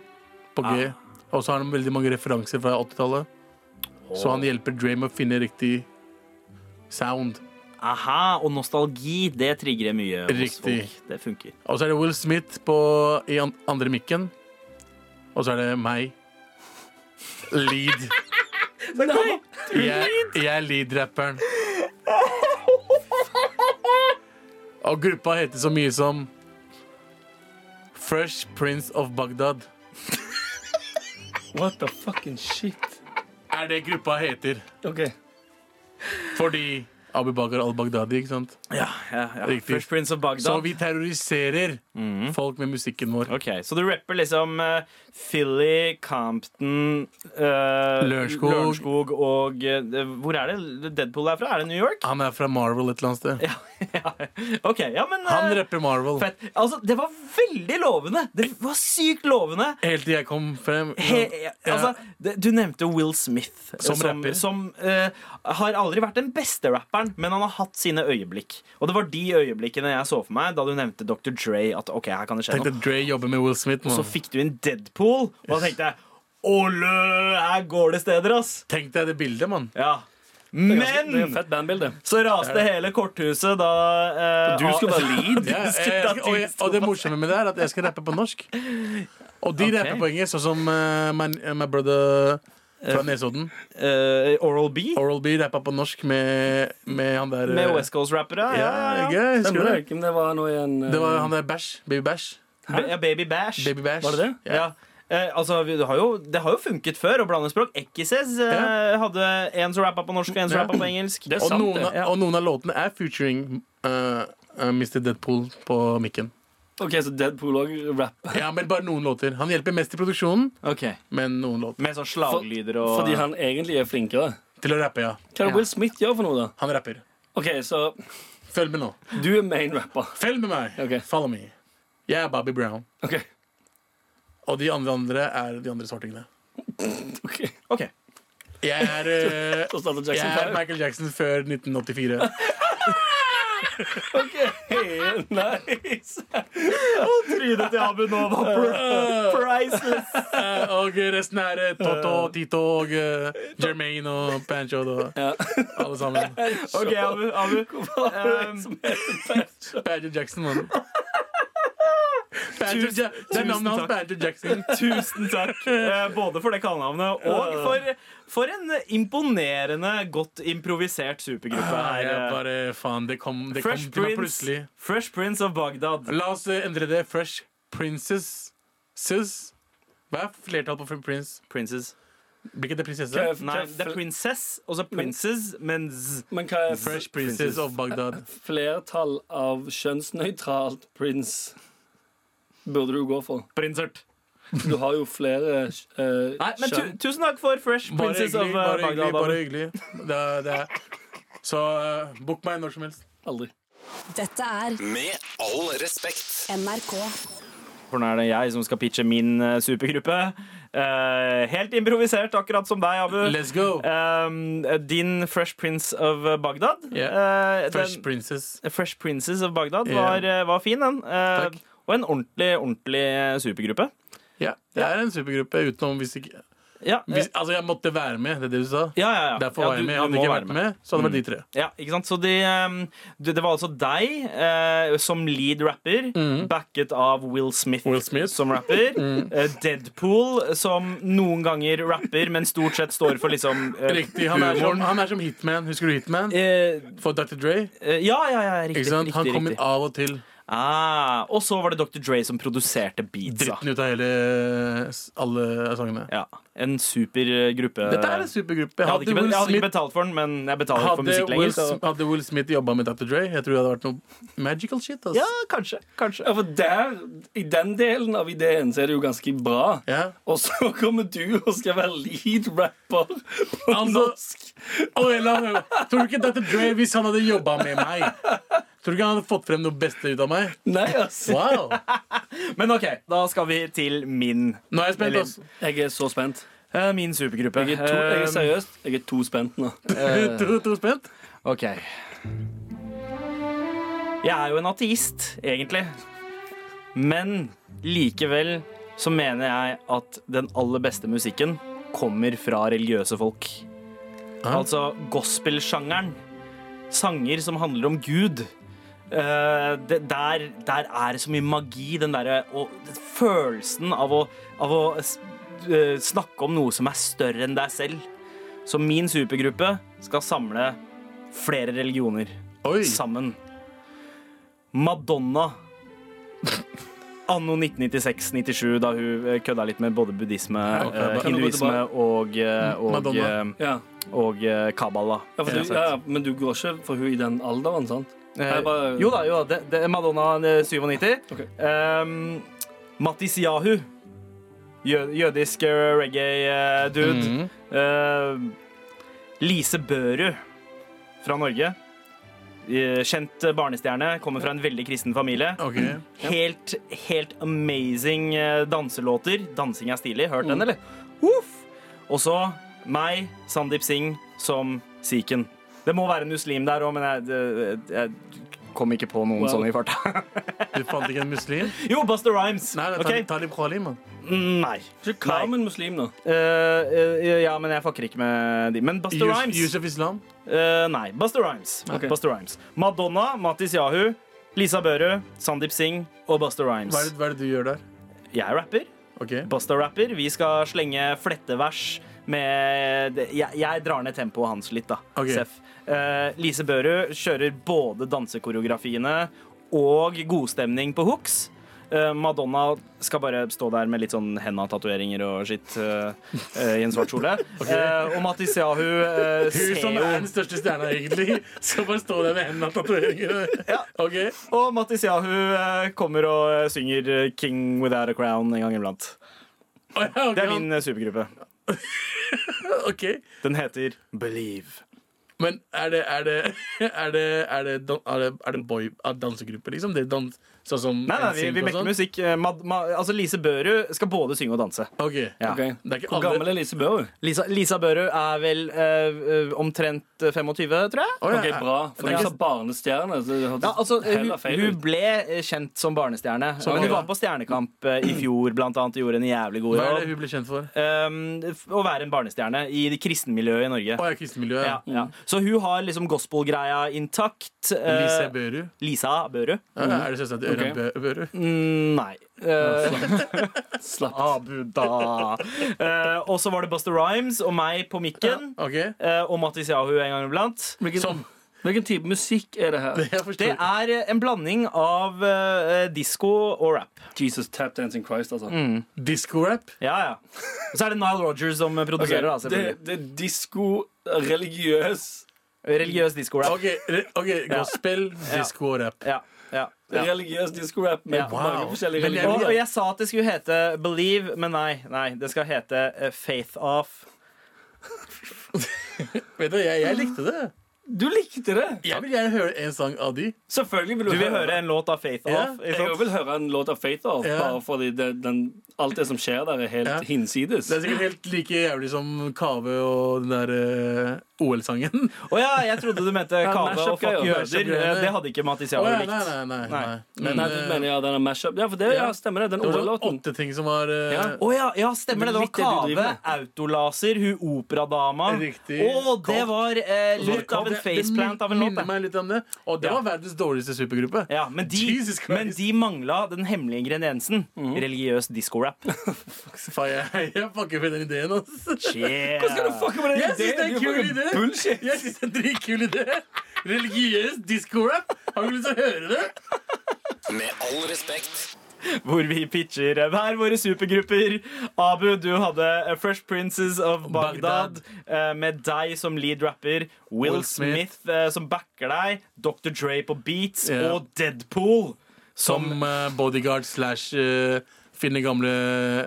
S5: på G,
S3: Ah.
S5: og så har han veldig mange referanser fra 80-tallet. Så han hjelper Dre med å finne riktig sound.
S3: Aha, Og nostalgi, det trigger mye hos
S5: Riktig.
S3: folk. Det funker.
S5: Og så er det Will Smith på, i an- andre mikken. Og så er det meg. Lead. Jeg, jeg er lead-rapperen. Og gruppa heter så mye som Fresh Prince of Baghdad.
S7: What the fucking shit?
S5: Er det gruppa heter.
S7: Ok.
S5: Fordi Abu Bakar al-Baghdadi, ikke sant?
S3: Ja, ja, ja.
S5: Riktig.
S3: First Prince of Baghdad.
S5: Så vi terroriserer folk med musikken vår.
S3: Mhm. Ok, Så du rapper liksom eh, Philly, Compton eh,
S5: Lørenskog.
S3: Lørenskog og eh, Hvor er det Deadpool er fra? Er det New York?
S5: Han er fra Marvel et eller annet sted.
S3: Ja. OK, ja, men eh,
S5: Han rapper Marvel.
S3: Fett. Altså, det var veldig lovende! Det var sykt lovende!
S5: Helt til jeg kom frem.
S3: He, altså, det, du nevnte Will Smith, eh,
S5: Som
S3: som,
S5: rapper.
S3: som, eh, har aldri vært den beste rapperen, men han har hatt sine øyeblikk. Og det var de øyeblikkene jeg så for meg da du nevnte Dr. Dre. At ok, her kan det skje noe
S5: Tenkte at Dre jobber med Will Smith.
S3: Så
S5: Man.
S3: fikk du inn Deadpool, og da tenkte jeg Ålø, her går det steder, ass!
S5: Tenk deg det bildet, mann.
S3: Ja.
S7: Det er et
S3: Men
S7: fett bandbilde.
S3: så raste hele korthuset da eh,
S7: Du skulle
S3: ah,
S7: bare lead.
S5: Ja, jeg, jeg, og, jeg, og det morsomme med det er at jeg skal rappe på norsk. Og de rapper på engelsk, sånn som eh, my, my brother fra Nesodden.
S3: eh, Oral B
S5: Oral B rappa på norsk med, med han der eh,
S3: med West Coast-rappere.
S5: Ja,
S3: Ja, ja, ja.
S5: gøy, husker
S7: Stemmer
S5: du
S7: det?
S5: det?
S7: Hvem det var nå igjen? eh,
S5: Det var han der Bæsj. Baby Bæsj.
S3: Ba- ja, Baby Bash.
S5: Baby Bæsj.
S7: Var det det?
S5: Ja.
S3: Ja. Eh, altså, vi- det har, jo, det har jo funket før å blande språk. Ekkises eh,
S5: Ja.
S3: hadde en som rappa på norsk, en som
S5: Ja.
S3: rappa på engelsk.
S7: Det er
S5: Og,
S7: sant,
S5: noen,
S7: det.
S5: av- og noen av låtene er featuring eh, eh, Mr. Deadpool på mikken.
S7: Ok, så Deadpool òg rapper.
S5: Ja, men bare noen låter. Han hjelper mest i produksjonen,
S3: Ok.
S5: men noen låter.
S3: Med sånn slaglyder og
S7: Fordi han egentlig er flinkere.
S5: Til å rappe, ja.
S7: Hva er det Will Smith gjør for noe, da?
S5: Han rapper.
S7: Ok, så
S5: Følg med nå.
S7: du er main rapper.
S5: Følg med meg.
S7: Ok.
S5: Follow me. Jeg er Bobby Brown.
S7: Ok,
S5: Og de andre, andre er de andre svartingene.
S7: ok
S3: Ok.
S5: Jeg er, eh,
S7: Så starter
S5: jeg
S7: Jackson
S5: er
S7: Five.
S5: Michael Jackson før 1984.
S7: Ok, nice.
S3: Trynet til Abu nå var pri- priceless.
S5: Eh, og resten er eh, Toto, Tito og eh, Jermaine og Pancho og alle sammen.
S3: Ok, Abu. Abu. Um,
S5: Badger Jackson, mann. Badger
S3: Tusen-
S5: Ja det er navnet hans,
S3: tusen
S5: Badger Jackson.
S3: Tusen takk, eh, både for det kallenavnet og for, for en imponerende godt improvisert supergruppe
S5: Nei,
S3: her.
S5: jeg
S3: eh.
S5: bare, faen, det kom, det kom
S3: Fresh
S5: til meg plutselig.
S3: Prince, Fresh Prince of Baghdad.
S5: La oss eh, endre det. Fresh Princess Sus. Hva er flertall på Fresh Prince?
S3: Princes.
S5: Blir ikke det prinsesse?
S7: Hva er f-
S3: Nei, det er Princess, og så Princes, men z.
S7: Men hva er
S5: Fresh Princess of Baghdad.
S7: flertall av kjønnsnøytralt prins burde du gå for?
S3: Prinsert.
S7: Du har jo flere eh,
S3: Nei, men tu,
S7: kjønn.
S3: tusen takk for Fresh
S5: Bare
S3: Princess of eh,
S5: hyggelig. Bare
S3: Baghdad.
S5: hyggelig,
S3: Abu.
S5: bare hyggelig. Det er, det er. Så eh, book meg når som helst.
S7: Aldri.
S2: Dette er
S1: Med all respekt.
S2: NRK.
S3: For nå er det jeg som skal pitche min eh, supergruppe. Eh, helt improvisert, akkurat som deg, Abu.
S5: Let's go!
S3: Eh, din Fresh Prince of Baghdad.
S5: Yeah.
S3: Eh,
S5: Fresh
S3: den-
S5: Princess.
S3: Fresh Princes of Baghdad
S5: Ja.
S3: var, eh, var fin, den. Eh,
S5: Takk.
S3: og en ordentlig, ordentlig eh, supergruppe.
S5: Ja, det er en supergruppe utenom hvis ikke
S3: Ja, eh,
S5: hvis, Altså, jeg måtte være med, det er det du sa.
S3: ja, ja, ja.
S5: Derfor
S3: ja,
S5: var jeg
S3: du-
S5: med.
S3: du
S5: Hadde
S3: må
S5: jeg ikke
S3: være Mm.
S5: vært med, så hadde det vært de tre.
S3: Ja, ikke sant? Så de, um, det, det var altså deg eh, som lead rapper,
S5: Mm.
S3: backet av Will Smith,
S5: Will Smith.
S3: som rapper.
S5: Mm.
S3: eh, Deadpool som noen ganger rapper, men stort sett står for liksom eh,
S5: Riktig, han er, som,
S3: humoren.
S5: han er som Hitman. Husker du Hitman?
S3: Eh,
S5: For Dr. Dre.
S3: eh, ja, ja, ja, riktig.
S5: Ikke sant? Han
S3: riktig,
S5: kom
S3: riktig.
S5: inn av og til.
S3: Ah, og så var det Dr. Dre som produserte beatsa.
S5: Dritten ut av hele alle eh, sangene.
S3: Ja, en super eh, gruppe.
S5: Dette er en supergruppe.
S3: jeg hadde,
S5: Hadde
S3: ikke, be-
S5: Will
S3: jeg hadde ikke
S5: Smith,
S3: betalt for den, men jeg betaler ikke for
S5: hadde
S3: musikk
S5: Will,
S3: lenger. Så.
S5: Sm- hadde Will Smith jobba med Dr. Dre, jeg tror det hadde vært noe magical shit. ass.
S3: Ja, kanskje. kanskje.
S7: Ja, for der, I den delen av ideen så er det jo ganske bra.
S5: Ja.
S7: Og så kommer du og skal være lead rapper på
S5: Altså-
S7: norsk.
S5: Og jeg la meg- Tror du ikke Dr. Dre, hvis han hadde jobba med meg Tror du ikke han hadde fått frem noe beste ut av meg?
S7: Nei, altså.
S5: Wow!
S3: Men OK, da skal vi til min,
S5: Nå er jeg spent,
S3: Eller-
S5: ass.
S7: Jeg er så spent.
S3: eh, min supergruppe.
S7: Jeg er, to, jeg er
S3: Eh,
S7: seriøst. Jeg er to spent nå.
S5: Du- Du du er spent?
S3: Ok Jeg er jo en ateist, egentlig Men likevel så mener jeg at den aller beste musikken kommer fra religiøse folk Altså gospel-sjangeren Sanger som handler om Gud Eh, det, der, der er det så mye magi Den der og, den følelsen av å, av å s- eh, snakke om noe som er større enn deg selv Så min supergruppe skal samle flere religioner
S5: Oi.
S3: sammen. Madonna. Anno 1996-97, da hun eh, kødda litt med både buddhisme,
S5: ok,
S3: eh,
S5: bare-
S3: hinduisme og, eh, og
S5: Madonna.
S3: eh,
S7: Ja.
S3: og eh, Kabbalah.
S7: Ja, for du, ja, ja, men du går ikke for hun i den alderen, sant?
S3: Eh,
S7: Jeg bare-
S3: Jo da, jo da. Det, det er Madonna eh, 97.
S7: Ok.
S3: Um, Mattis Yahu. Jø jødisk eh, reggae-dude.
S7: Mhm.
S3: Lise Børud fra Norge. Eh, Kjent eh, barnestjerne, kommer fra en veldig kristen familie.
S5: Ok.
S3: Helt, helt amazing eh, danselåter. Dansing er stilig. Hørt
S5: Mm.
S3: den, eller? Uff. Og så meg, Sandeep Singh, som sikhen. Det må være en muslim der òg, men jeg, det- jeg kom ikke på noen
S7: Wow.
S3: sånne i farta.
S5: Du fant ikke en muslim?
S3: jo, Buster Rhymes.
S5: Nei, det er
S3: Ok?
S5: Talib Kweli, mann.
S3: Nei.
S7: Så Carmen muslim, da.
S3: Eh, eh, ja, men jeg fucker ikke med de. Men Buster
S5: Yus-
S3: Rhymes.
S5: Yusuf Islam.
S3: Eh, nei. Buster Rhymes.
S7: Ok.
S3: Buster Rhymes. Madonna, Mattis Yahu, Lisa Børud, Sandeep Singh og Buster Rhymes.
S5: Hva er, det, hva er det du gjør der?
S3: Jeg rapper.
S5: Ok.
S3: Busta-rapper. Vi skal slenge flettevers med det- jeg, jeg drar ned tempoet hans litt, da.
S5: Ok.
S3: Seff. Eh, Lise Børud kjører både dansekoreografiene og godstemning på hooks. Eh, Madonna skal bare stå der med litt sånn henda-tatoveringer og skitt eh, eh, i en svart kjole. Eh, og Matis Yahu eh,
S5: Hun
S3: ser
S5: som
S3: jo
S5: er den største stjerna, egentlig, skal bare stå der med hendene og tatoveringer.
S3: Ja.
S5: Ok.
S3: Og Matis Yahu eh, kommer og eh, synger 'King Without a Crown' en gang iblant.
S5: Å ja, ok,
S3: Det er
S5: han-
S3: min eh, supergruppe.
S5: Ok.
S3: Den heter Believe.
S5: Men er det Er det Er det, er det, dan- er det, er det boy er det dansegruppe, liksom? Det er dans, sånn som
S3: Nei, nei, vi,
S5: NSYNC
S3: vi
S5: og
S3: mekker
S5: sånn?
S3: musikk. Eh, Mad, ma, altså Lise Børud skal både synge og danse.
S5: Ok.
S3: Ja.
S7: Ok.
S5: Det er ikke
S7: Hvor
S5: alle-
S7: gammel er Lise Børud?
S3: Lisa, Lisa Børud er vel eh, eh, omtrent 25, tror jeg.
S5: Å, ja.
S7: Ok, bra.
S5: Det
S7: For du
S5: er
S7: sa
S5: ikke-
S7: barnestjerne. Så det hørtes
S3: Ja, altså, eh, hun,
S7: hella feil
S3: hun
S7: ut.
S3: ble eh, kjent som barnestjerne.
S5: Som
S3: hun
S5: barn.
S3: var på Stjernekamp eh, i fjor blant annet, og gjorde en jævlig god
S5: Hva er det
S3: jobb.
S5: hun ble kjent for?
S3: Um, f- å være en barnestjerne i det kristenmiljøet i Norge.
S5: Å ja, kristenmiljø.
S3: Ja, ja. Så hun har liksom gospelgreia intakt. eh,
S5: Lise Børud.
S3: Lisa Børud?
S5: Ja, Er det søstera til Ørjan
S7: Ok.
S5: Bø- Børud?
S3: Mm, nei. Eh,
S7: Slapp.
S3: Abu da. Eh, og så var det Buster Rhymes og meg på mikken.
S5: Ok.
S3: eh, og Mattis Yahu en gang iblant.
S5: Som
S7: Hvilken type musikk er det her?
S5: Jeg
S3: Det
S5: forstår.
S3: er eh, en blanding av uh, disko og rap.
S7: Jesus Tap Dancing Christ, altså.
S5: Mm. Disko-rap.
S3: Ja, ja. Og så er det Nile Rogers som
S7: Ok,
S3: produserer. da,
S7: det,
S3: selvfølgelig.
S7: det er disko, religiøs
S3: Religiøs disko-rap.
S5: Ok, re- ok, gospel, disko og rap.
S3: Ja, ja, ja.
S7: Religiøs disco-rap med
S3: Ja.
S7: mange forskjellige
S5: Men jeg-
S7: religioner.
S3: Og, og jeg sa at det skulle hete Believe, men nei. nei det skal hete eh, Faith Off.
S5: Vet du, jeg, jeg likte det.
S7: Du likte det!
S5: Jeg vil gjerne høre en sang av de.
S7: Selvfølgelig vil du,
S3: Du vil
S7: høre.
S3: høre en låt av Faith
S5: Ja,
S3: Off?
S7: Jeg
S3: ikke sant?
S7: vil høre en låt av Faith Off,
S5: Ja.
S7: bare fordi det, den, alt det som skjer der, er helt
S5: Ja.
S7: hinsides.
S5: Det er sikkert helt like jævlig som Kave og den der eh, OL-sangen.
S3: Å ja, jeg trodde du mente Kave
S7: mashup
S3: og Fuck
S7: greier,
S5: mashup
S3: jøder.
S5: greier.
S3: Eh, Det hadde ikke Mattis
S5: Å
S3: Yahu
S5: ja, nei,
S3: likt.
S5: nei, nei, nei.
S3: Nei.
S5: Men,
S7: Nei, du
S5: eh,
S7: mener ja, den er mashup. Ja, for det ja, stemmer det. Den
S5: det var sånn
S7: OL-låten.
S5: åtte ting som var eh,
S7: Ja.
S3: Å ja, ja, stemmer det. Det var
S7: Det er litt det du
S3: Kave,
S7: driver med.
S3: Autolaser, hun operadama.
S5: Riktig. Altså,
S3: Å, det var eh, litt av en
S5: Det- det
S3: faceplant av en låt.
S5: minner
S3: det.
S5: meg litt om det. Og det
S3: Ja.
S5: var verdens dårligste supergruppe.
S3: Ja, men de,
S5: Jesus Christ. Mhm.
S3: men de mangla den hemmelige ingrediensen. Religiøs disco-rap.
S5: Faen, jeg, jeg fucker med den ideen, ass.
S3: Yeah.
S7: med den
S5: Jeg synes det er en kul idé.
S7: Bullshit.
S5: Jeg synes det er en dritkul idé. Religiøs disco-rap. Har du ikke lyst til å høre det?
S1: Med all respekt.
S3: Hvor vi pitcher eh, hver våre supergrupper. Abu, du hadde eh, Fresh Princes of Baghdad
S5: Baghdad.
S3: eh, med deg som lead rapper. Will
S5: Will
S3: Smith
S5: Smith.
S3: eh, som backer deg. Dr. Dre på beats.
S5: Ja.
S3: Og Deadpool som
S5: Som eh, bodyguard slash eh, finne gamle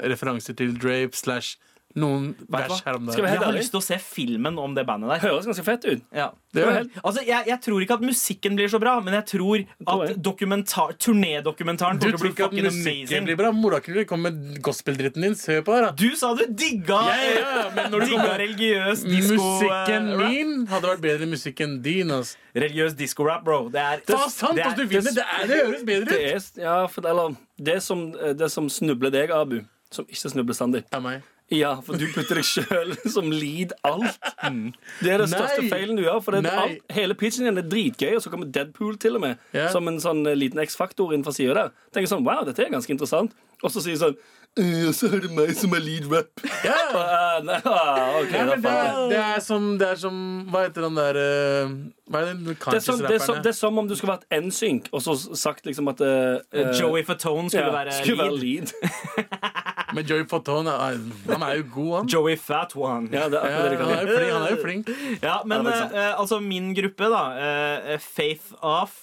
S5: referanser til Drape slash noen
S3: hva?
S5: vers her om
S7: Skal
S5: dagen.
S7: vi helt
S3: Jeg har
S7: ærlig?
S3: lyst til å se filmen om det bandet der.
S7: Høres ganske fett ut.
S3: Ja.
S5: Det gjør
S7: helt-
S3: Altså, jeg, jeg tror ikke at musikken blir så bra, men jeg tror at dokumentar, turnédokumentaren
S5: Du
S3: kommer til å
S5: tror
S3: bli
S5: ikke at
S3: fucking
S5: musikken
S3: amazing.
S5: blir bra? Morakuler kommer med gospeldritten din. Se på her, da.
S3: Du sa du digga,
S5: Ja, ja, ja, men når du
S3: digga
S5: kommer
S3: religiøs disco
S5: Musikken
S3: eh, rap.
S5: min hadde vært bedre enn musikken din. ass
S3: Religiøs disco-rap, bro. Det er
S5: Det er sant, ass, du vinner! Det, er, det høres bedre ut!
S7: Det er, ja, for, eller, det som, eh, det som snubler deg, Abu, som ikke snubler Sandeep
S5: Det er meg.
S7: Ja, for du putter deg sjøl som lead alt. Det er den største
S5: Nei.
S7: feilen du gjør. For det
S5: Nei.
S7: er alt, hele pitchen din er dritgøy, og så kommer Deadpool til og med
S5: Ja.
S7: som en sånn eh, liten X-faktor inn fra sida der. Tenker sånn, wow, dette er ganske interessant. Og så sier sånn «Eh, Så er det meg som er lead rap.
S5: Ja.
S7: Ah, nei, ah, ok,
S5: Nei,
S7: da
S5: men det,
S7: fant jeg.
S5: er, det er som Det er som Hva heter den der eh, Hva er den
S7: Det er, som, det, er som, det
S5: conscious-rapperne?
S7: er som om du skulle vært NSYNC og så sagt liksom at eh, eh,
S3: Joey Fatone skulle
S7: ja,
S3: være
S7: skulle
S3: lead.
S7: lead.
S5: Men Joey Fatone, eh, han er jo god, han.
S3: Joey Fat One.
S7: Ja, det er
S5: Ja,
S7: akkurat det de
S5: han, er
S7: kaller det.
S5: jo flink, han er jo flink.
S3: Ja, men
S7: det er sant.
S3: eh, altså min gruppe, da, eh, Faith Off,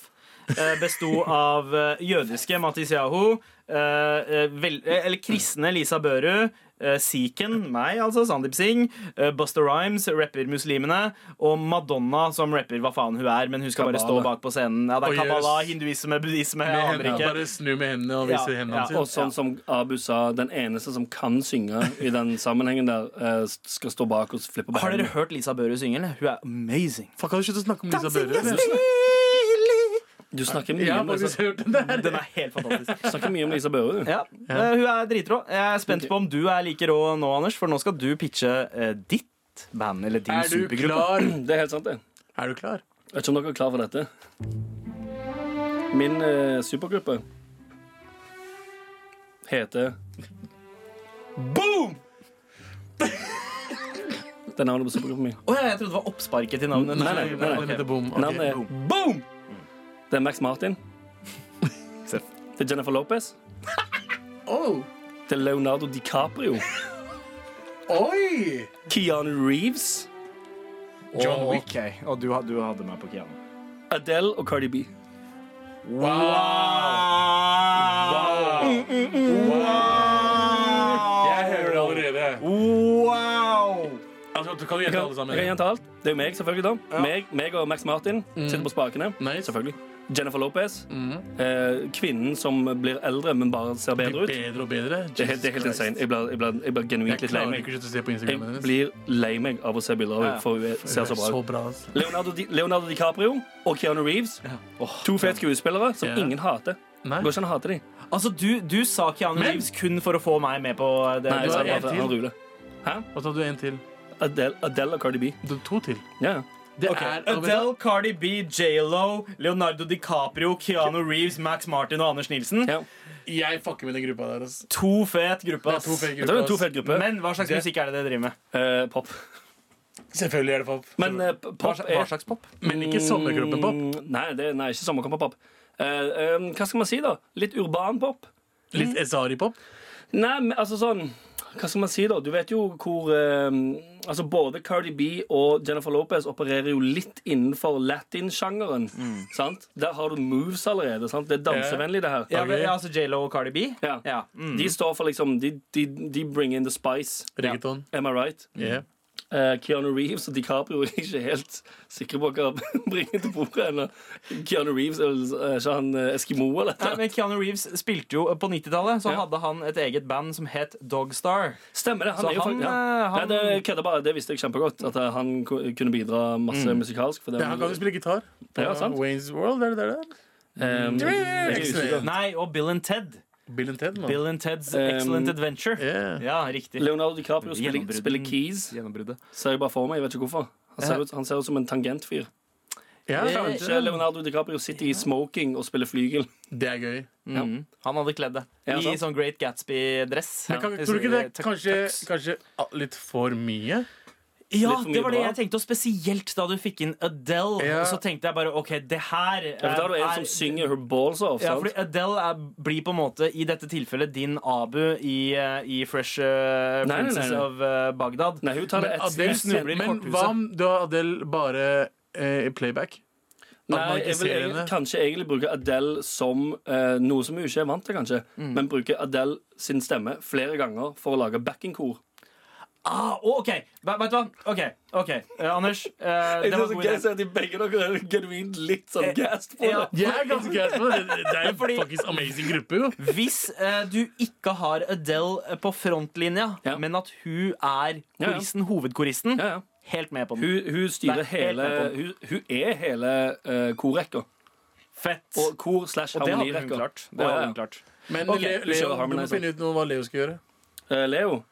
S3: eh, besto av eh, jødiske Matis Yahu, eh, eh, vel, eh, eller kristne Lisa Børu, eh, Sikhen, meg altså, Sandeep Singh, eh, Buster Rhymes, rapper muslimene, og Madonna som rapper hva faen hun er, men hun skal bare stå
S7: Kabbala.
S3: bak på scenen. Ja, det
S5: Og
S3: er kabbalah,
S5: Jesus.
S3: hinduisme, buddhisme,
S5: Med
S3: aner
S5: hendene,
S3: ikke.
S5: bare snu med hendene og vise
S3: Ja,
S5: hendene
S3: ja.
S5: sine.
S7: Og sånn som Abu sa, den eneste som kan synge i den sammenhengen der, eh, skal stå bak og flippe på
S3: Har dere
S7: hendene.
S3: hørt Lisa Børu synge, eller? Hun er amazing.
S5: Fuck, kan du slutte å snakke om Lisa Børre?
S7: Du snakker
S5: Jeg
S7: mye
S5: har
S7: om Lisa,
S5: faktisk hørt den der.
S3: Den er helt fantastisk.
S7: snakker mye om Lisa Børre, du.
S3: Ja, eh, Hun er dritrå. Jeg er spent på om du er like rå nå, Anders, for nå skal du pitche eh, ditt band eller din
S5: Er du
S3: supergruppe.
S5: klar?
S7: Det er helt sant, det.
S5: Er du klar?
S7: Jeg vet ikke om dere er klar for dette. Min eh, supergruppe heter
S3: Boom!
S7: Det er navnet på supergruppen min.
S3: Å ja, jeg trodde det var oppsparket til navnet.
S7: Nei, nei, nei, nei.
S5: Den heter Bom. Ok.
S7: Navnet er
S3: Boom!
S7: Det er Max Martin.
S3: Seff.
S7: Det er Jennifer Lopez.
S5: Oh.
S7: Det er Leonardo DiCaprio.
S5: Oi!
S7: Keanu Reeves.
S5: John
S3: Å,
S5: Wick.
S3: ok. Og du, ha- du hadde meg på Kiano.
S7: Adele og Cardi B.
S3: Wow!
S5: Jeg hører det allerede.
S3: Wow!
S5: Altså, du kan du gjette
S7: Kan,
S5: alle
S7: kan jeg
S5: sammen?
S7: gjenta alt? Det er jo meg, selvfølgelig. da meg, meg og Max Martin sitter på spakene.
S5: Mm. Nice. Mm.
S7: Selvfølgelig. Jennifer Lopez. Eh, kvinnen som blir eldre, men bare ser bedre ut.
S5: Bedre og bedre.
S7: Det er helt, det er helt insane. Jeg blir, jeg blir, jeg blir
S5: Jeg
S7: genuint litt lei
S5: klarer
S7: meg.
S5: ikke å slutte å se på
S7: Jeg
S5: Instagramen hennes.
S7: blir lei meg av å se bilder av
S3: Ja.
S7: henne, for hun er- ser
S5: Det er
S7: så bra ut.
S5: Så bra, altså.
S7: Leonardo, Di Leonardo DiCaprio og Keanu Reeves. To fete skuespillere som
S5: Ja.
S7: ingen hater.
S5: Nei.
S7: Går ikke an å hate dem.
S3: Altså, du, du sa Keanu
S5: Men-
S3: Reeves kun for å få meg med på det.
S7: Nei,
S3: du
S7: så
S5: har
S7: er det
S5: en
S7: bare
S5: til.
S7: han ruler.
S5: Og så har du en til.
S7: Adele, Adele og Cardi B.
S5: Du har to til.
S7: Ja.
S5: Det
S3: Ok,
S5: er
S3: Adele, Cardi B, J.Lo, Leonardo DiCaprio, Keanu Reeves, Max Martin og Anders Nilsen.
S7: Ja.
S5: Jeg fucker med den gruppa der, altså.
S3: To fet gruppe.
S5: Det er
S3: ass.
S5: to fake
S7: Jeg tror det er en
S5: grupper.
S7: tofelt
S5: ass.
S7: gruppe.
S3: Men hva slags musikk er det dere driver med?
S7: Eh, pop.
S5: Selvfølgelig er det pop.
S7: Men eh, p-
S3: Hva,
S7: pop
S3: sla-
S7: er
S3: hva slags pop?
S5: Men ikke sommergruppepop.
S7: Mm, Nei, det, nei ikke sommerkamp-pop. Eh, hva skal man si, da? Litt urban pop?
S5: Litt Ezari-pop.
S7: Nei, men altså sånn Hva skal man si, da? Du vet jo hvor eh, Altså, både Cardi B og Jennifer Lopez opererer jo litt innenfor latin-sjangeren. Sant? Der har du moves allerede. Sant? Det er dansevennlig, det her.
S3: Mm. Ja, men, ja, altså J.Lo og Cardi B?
S7: Ja.
S3: Ja. Mm.
S7: De står for liksom De, de, de bring in the spice.
S5: Reggaeton.
S7: Am I right?
S5: Yeah.
S7: Eh, Keanu Reeves og DiCaprio er ikke helt sikre på hva han bringer til bordet ennå. Keanu Reeves er vel eh, ikke han eh, Eskimo eller
S3: Nei,
S7: noe?
S3: men Keanu Reeves spilte jo På 90-tallet så hadde han et eget band som het Dogstar.
S7: Stemmer det.
S3: Så
S7: Han er jo
S3: han,
S7: faktisk ja.
S3: eh, han-
S7: Nei, det kødder bare. Det visste jeg kjempegodt. At eh, han ku- kunne bidra masse
S3: Mm.
S7: musikalsk. For det,
S5: Ja, han kan jo spille gitar. På
S7: Ja, sant.
S5: Wayne's World, er det der? det
S7: Eh, jeg er usikker.
S3: Nei, og Bill and Ted.
S5: er? Bill and Ted, mann.
S3: Bill and Ted's
S7: Um,
S3: Excellent Adventure.
S5: Yeah.
S3: Ja, riktig.
S7: ehm, Leonardo DiCaprio spiller,
S3: Gjennombrudden.
S7: spiller keys.
S3: Gjennombruddet.
S7: Ser jeg bare for meg. Jeg vet ikke hvorfor. Han ser
S3: Ja.
S7: ut, han ser ut som en tangentfyr.
S5: Ja, kanskje.
S7: Kanskje Leonardo DiCaprio sitter i smoking og spiller flygel.
S5: Det er gøy.
S3: Mm. Han hadde kledd det.
S7: Ja,
S3: I
S7: sant.
S3: sånn Great Gatsby-dress.
S5: Men kan, tror du ikke det er kanskje, kanskje ah, litt for mye?
S3: Ja,
S7: Litt for mye
S3: det var det
S7: bra.
S3: jeg tenkte, og spesielt da du fikk inn Adele.
S5: Ja.
S3: Så tenkte jeg bare OK, det her eh,
S7: Ja, for Da er det en som synger her balls off.
S3: ja,
S7: sant?
S3: fordi Adele er, blir på en måte i dette tilfellet din Abu i, eh, i Fresh eh,
S7: Nei, nei, nei,
S3: Princess
S7: nei.
S3: of eh, Baghdad.
S7: Nei, hun tar det
S5: Men
S7: ett
S5: Adele
S7: steg
S3: snubler i
S5: Men
S3: korthuset.
S5: hva om du har Adele bare eh, i playback? At man
S7: Nei,
S5: ikke
S7: jeg vil
S5: ser
S7: egentlig,
S5: henne?
S7: kanskje egentlig bruke Adele som eh, noe som hun ikke er vant til, kanskje.
S3: Mm.
S7: Men bruke Adele sin stemme flere ganger for å lage backingkor.
S3: Ah, å, OK! Ve- Vet du hva? OK. ok Eh, Anders, eh, det var en god idé. Eh,
S7: at de begge dere er genuint litt sånn gassed
S3: ja.
S5: Jeg er ganske gæren på det. Det er jo
S3: Fordi-
S5: faktisk amazing gruppe, jo.
S3: Hvis eh, du ikke har Adele eh, på frontlinja,
S7: Ja.
S3: men at hun er
S7: Ja, ja.
S3: koristen, hovedkoristen,
S7: Ja, ja.
S3: helt med på den.
S7: Hun, hun styrer
S3: Nei, helt
S7: hele
S3: med på
S7: hun, hun er hele eh, korrekka.
S3: Fett.
S7: Og kor slash
S3: Og det hadde hun
S7: harmonirekka.
S3: klart. Det
S7: Å, ja,
S3: hadde
S7: ja.
S3: hun klart.
S5: Men
S7: Ok,
S5: Le-
S7: vi
S5: Leo,
S7: kjører
S5: du må
S7: Harmonize.
S5: finne ut noe hva Leo skal gjøre.
S7: Eh, Leo.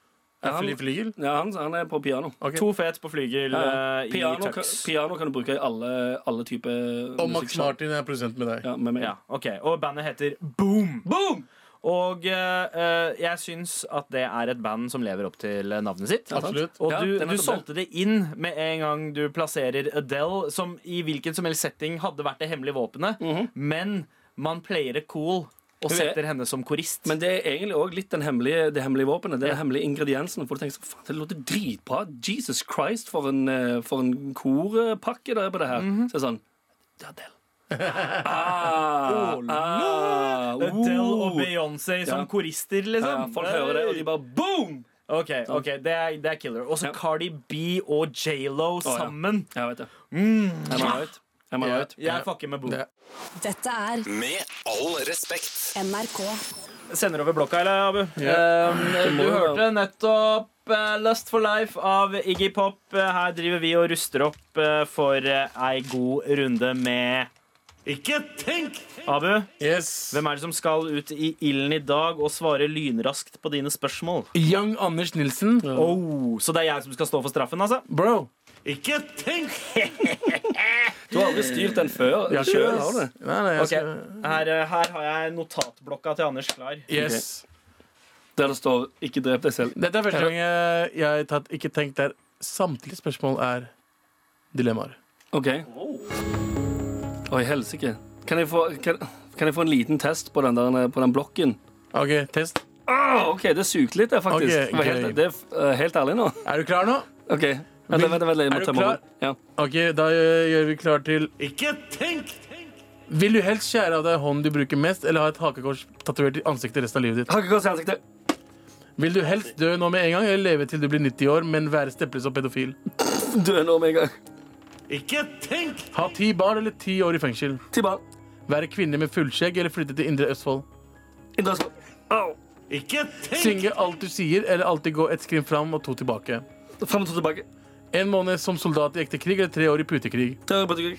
S7: Ja, han,
S5: Fly- Flygel?
S7: ja, han, han er på piano.
S5: Ok.
S3: To fet på flygel
S7: Ja,
S3: eh, i
S7: Piano, kan,
S3: tux.
S7: piano kan du bruke i alle, alle typer
S5: Og Max
S7: musikksjanger.
S5: Martin er produsent med deg.
S7: Ja, med meg.
S3: Ja, ok. Og bandet heter Boom.
S7: Boom!
S3: Og eh, eh, jeg syns at det er et band som lever opp til eh, navnet sitt.
S7: Ja, sant.
S5: Absolutt.
S3: Og
S7: Ja,
S3: du,
S7: det er
S3: du
S7: nettopp
S3: solgte det inn med en gang du plasserer Adele,
S7: Mhm.
S3: som i hvilken som helst setting hadde vært det hemmelige våpenet, men man player det cool. og
S7: Hun er-
S3: setter henne som korist.
S7: Men det er egentlig også litt den hemmelige, det hemmelige våpenet, det er den hemmelige ingrediensen. For du tenker sånn, faen, det låter dritbra. Jesus Christ, for en, eh, for en korpakke det er på det her.
S3: Mhm.
S7: Så er det sånn Det er Adele. Ah, ah,
S3: Det er Oh, Adele og
S7: oh.
S3: Beyoncé som
S7: Ja.
S3: korister, liksom.
S7: Ja, folk hører det, og de bare boom!
S3: Ok, ok, det er, det er killer. Også
S7: Ja.
S3: Cardi B og J.Lo
S7: ja.
S3: sammen.
S7: Jeg vet det.
S3: Mm.
S7: Am I right? Am I right?
S3: Jeg fucker med Boom.
S5: Det-
S2: Dette er
S1: Med all respekt.
S2: NRK.
S3: Sender over blokka, eller, Abu? Um, du
S7: jo
S3: hørte nettopp eh, Lust for life av Iggy Pop. Eh, Her driver vi og ruster opp eh, for eh, ei god runde med Ikke tenk! Abu,
S5: Yes.
S3: hvem er det som skal ut i ilden i dag og svare lynraskt på dine spørsmål?
S5: Young Anders Nilsen.
S3: Oh, så det er jeg som skal stå for straffen, altså?
S5: Bro.
S3: Ikke tenk!
S7: Du har aldri styrt den før.
S5: Jeg
S7: selv,
S5: skal-
S7: har du det?
S5: Nei, nei, jeg
S3: Ok,
S5: skal...
S3: her, eh, her har jeg notatblokka til Anders klar.
S5: Yes.
S7: Der det står 'ikke drep deg selv'.
S5: Dette er første gang jeg, jeg har tatt ikke tenkt der samtlige spørsmål er dilemmaer.
S7: OK. Oi, helsike. Kan jeg få kan, kan jeg få en liten test på den, der, på den blokken?
S5: OK, test.
S7: Ah, OK, det sugde litt, det, faktisk.
S5: Ok,
S7: det, var helt,
S5: gøy.
S7: det er f- eh, helt ærlig nå.
S5: Er du klar nå?
S7: OK. Vent, vent, vent, vent, jeg må
S5: Er du
S7: tømme
S5: klar?
S7: hodet. Ja.
S5: OK, da eh, gjør vi klar til Ikke tenk! Vil du helst skjære av deg hånden du bruker mest, eller ha et hakekors tatovert i ansiktet resten av livet ditt?
S7: Hakekors i ansiktet.
S5: Vil du helst dø nå med en gang, eller leve til du blir 90 år, men være steppeløs og pedofil?
S7: Dø nå med en gang.
S5: Ha ti barn eller ti år i fengsel?
S7: Tiba.
S5: Være kvinne med fullskjegg eller flytte til Indre Østfold?
S7: Indre Østfold. Au.
S5: Synge alt du sier, eller alltid gå ett skritt fram og to tilbake?
S7: Fram og to tilbake.
S5: En måned som soldat i ekte krig, eller tre år i putekrig?
S7: Tørre på tygg.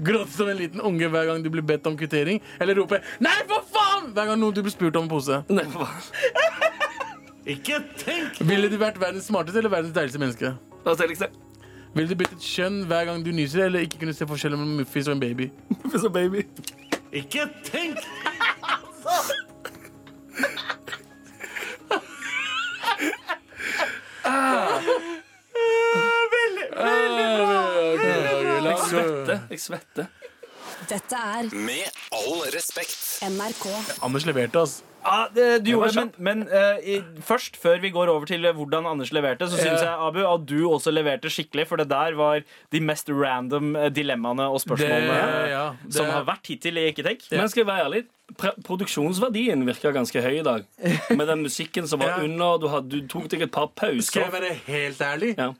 S5: Gråte som en liten unge hver gang du blir bedt om kvittering, eller rope 'nei, for faen!' hver gang noen du blir spurt om en pose.
S7: Nei, for faen.
S5: Ville du vært verdens smarteste eller verdens deiligste menneske?
S7: La oss se, liksom.
S5: Ville du byttet kjønn hver gang du nyser, eller ikke kunne se forskjellen mellom muffis og en baby?
S7: Puss og baby. Jeg svetter. Eh, Jeg svetter.
S2: Dette er
S1: Med all respekt.
S2: NRK.
S5: Anders leverte, ass.
S3: Ja, det, du
S7: var
S3: gjorde, men men eh, i, først, før vi går over til eh, hvordan Anders leverte, så syns jeg Abu, at du også leverte skikkelig, for det der var de mest random eh, dilemmaene og spørsmålene
S5: Det- ja, det-
S3: som har vært hittil i Ikke tenk.
S7: Men skal jeg være ærlig, pre- produksjonsverdien virka ganske høy i dag. Med den musikken som var
S5: Ja.
S7: under, du, hadde, du tok deg et par
S5: Skal jeg
S7: pauser.
S5: være helt ærlig?
S7: Ja.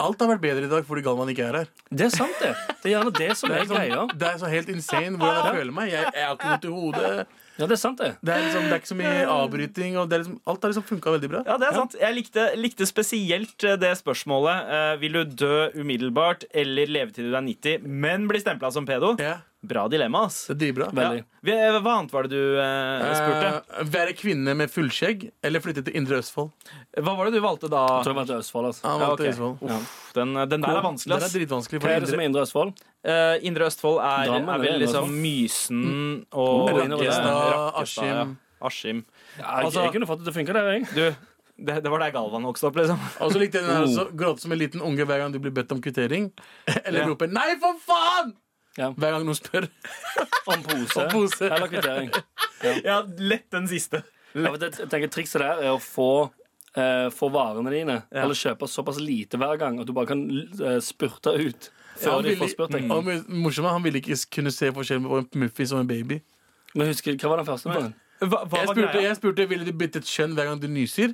S5: Alt har vært bedre i dag fordi Galvan ikke er her.
S7: Det er sant, det. Det er gjerne det som er greia.
S5: sånn, det er så helt insane hvordan jeg føler meg. Jeg, jeg har ikke vondt i hodet.
S7: Ja, det er sant, det.
S5: Det er, liksom, det er ikke så mye avbryting. Og det er liksom, alt har liksom funka veldig bra.
S3: Ja, det er sant. Jeg likte, likte spesielt eh, det spørsmålet. eh, vil du dø umiddelbart eller leve til du er 90, men bli stempla som pedo?
S5: Ja,
S3: Bra dilemma, ass.
S5: det er dritbra.
S3: Ja.
S7: Veldig.
S3: Vi- Hva annet var det du eh, spurte?
S5: Eh, være kvinne med fullskjegg eller flytte til Indre Østfold?
S3: Hva var det du valgte da?
S7: Jeg tror det var til Østfold, altså.
S5: Han
S3: Ja,
S5: valgte
S3: ok.
S5: Østfold.
S3: Uff, den, den der er vanskelig,
S5: Den er
S3: ass.
S5: dritvanskelig.
S7: Hva er det
S5: For Indre
S7: som er Indre Østfold?
S3: Eh, Indre Østfold er,
S7: Drammen,
S3: er
S7: eller
S3: vel
S7: Indre
S3: liksom
S7: Østfold?
S3: Mysen
S7: Oh,
S3: og
S7: Rakkestad,
S3: Rakkestad,
S5: Askim.
S3: ja. Askim.
S7: Ja, jeg,
S3: Altså-
S7: jeg kunne fått det til å funke der, jeg.
S3: Du, det, det var der Galvan vokste opp, liksom.
S5: Og så likte jeg den her
S7: Oh.
S5: også. Gråte som en liten unge hver gang du blir bedt om kvittering. Eller
S7: Ja.
S5: rope 'nei, for faen!'
S7: Ja.
S5: hver gang noen spør.
S7: Om pose.
S5: Om pose.
S7: Eller kvittering.
S3: Ja, lett den siste.
S7: Ja, for det, jeg tenker Trikset der er å få, eh, få varene dine, eller kjøpe såpass lite hver gang at du bare kan eh, spurte ut før
S5: Han
S7: de
S5: ville,
S7: får spurt deg.
S5: og mor- morsomt, han ville ikke kunne se forskjell på en muffis og en baby.
S7: Men husker, hva var den første? meningen?
S3: Hva, hva
S5: Jeg
S3: var
S5: spurte,
S3: greia?
S5: jeg spurte ville du byttet kjønn hver gang du nyser,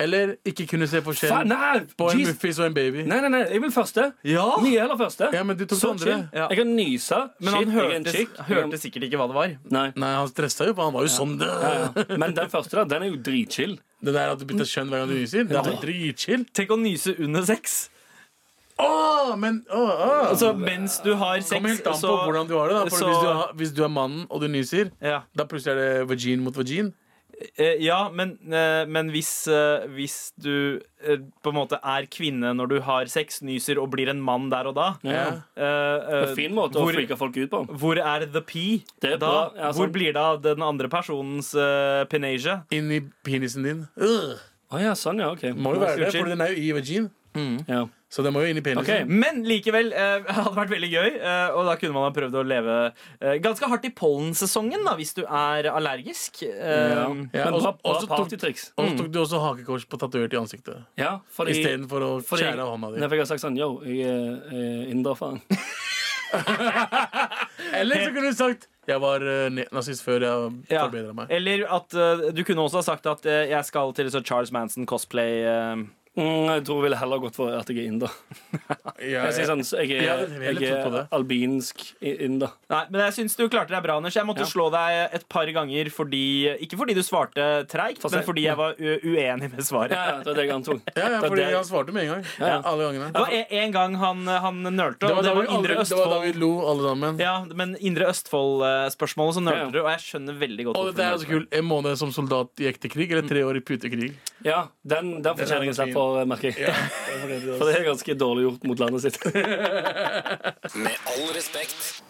S5: eller ikke kunne se forskjell
S7: Mm. Faen, nei!
S5: på en
S7: Jesus.
S5: muffis og en baby.
S7: Nei, nei, nei, jeg vil første.
S3: Ja!
S7: Nye eller første?
S5: Ja, men du tok
S7: så
S5: det andre.
S7: chill.
S3: Ja.
S7: Jeg kan nyse.
S3: Men han
S7: Shit, jeg er en
S3: hørte,
S7: chick.
S3: hørte sikkert ikke hva det var.
S7: Nei.
S5: Nei, han stressa jo, for han var jo sånn. Det.
S7: Men den første, da, den er jo dritchill.
S5: det der at du bytter kjønn hver gang du nyser, det er jo dritchill.
S3: Tenk å nyse under sex.
S5: Åh, men åh, åh.
S3: Altså mens du har sex,
S5: Kommer helt an på
S3: så-
S5: hvordan du har det. da For
S3: så-
S5: hvis, du har, hvis du er mannen og du nyser,
S3: ja.
S5: da plutselig er det vagin mot vagin.
S3: Eh, ja, men, eh, men hvis, eh, hvis du eh, på en måte er kvinne når du har sex, nyser og blir en mann der og da
S5: Ja.
S3: eh, eh,
S7: Fin måte
S3: hvor-
S7: å freake folk ut på.
S3: Hvor er the P?
S7: Det er
S3: da,
S7: bra, ja, sant.
S3: hvor blir det av den andre personens uh, penasia?
S5: Inn i penisen din. Øh,
S7: Å ja, sånn, ja, ok.
S5: Må jo være Um, det,
S3: Unnskyld.
S5: for den er jo i vagin.
S7: Ja.
S5: Så det må jo inn i penisen.
S7: Ok.
S3: Men likevel eh, hadde vært veldig gøy, eh, og da kunne man ha prøvd å leve eh, ganske hardt i pollensesongen da, hvis du er allergisk. Eh,
S7: Ja.
S5: Ja,
S7: Men bra,
S5: også-
S7: bra
S5: også tok-
S7: partytriks.
S5: Og så tok du også hakekors på tatovert i ansiktet.
S7: Ja, fordi,
S5: Istedenfor å
S7: fordi-
S5: skjære av hånda
S7: Nei,
S5: di.
S7: for jeg har sagt sånn Yo, jeg er eh, inder, faen.
S5: Eller så kunne du sagt jeg var eh, ne- nazist før jeg
S3: ja.
S5: forbedra meg.
S3: Eller at eh, du kunne også ha sagt at eh, jeg skal til så Charles Manson cosplay. eh,
S7: Mm, jeg tror jeg ville heller gått for at jeg er inder.
S5: Ja,
S7: Jeg,
S5: ja.
S7: sier sånn, så jeg
S5: Ja,
S7: er,
S5: det vil jeg
S7: jeg
S5: litt tro på
S7: er
S5: det.
S7: albinsk i- inder.
S3: Nei, men jeg syns du klarte deg bra, Anders. Jeg måtte
S7: Ja.
S3: slå deg et par ganger fordi Ikke fordi du svarte treigt,
S7: For se-
S3: men fordi jeg var u uenig med svaret.
S7: Ja, ja, det var det jeg antok.
S5: ja, ja,
S7: Det er
S5: fordi
S7: det-
S5: han svarte med en gang.
S7: Ja.
S5: Alle gangene.
S3: Det var en, en gang han, han nølte,
S5: Det
S3: og det
S5: var, da
S3: var
S5: vi aldri,
S3: Indre
S5: det var da vi
S3: Østfold.
S5: lo, alle sammen.
S3: Ja, men Indre Østfold-spørsmålet, så nølte
S7: Ja.
S3: du, og jeg skjønner veldig godt
S5: Og
S3: hvorfor
S5: dette er altså
S3: du
S5: jo så
S3: nølte.
S5: kult. En måned som soldat i ekte krig, eller tre år i putekrig.
S7: Ja, den, den fortjener jeg en slapp for, merker jeg. For det er ganske dårlig gjort mot landet sitt.
S1: Med all respekt.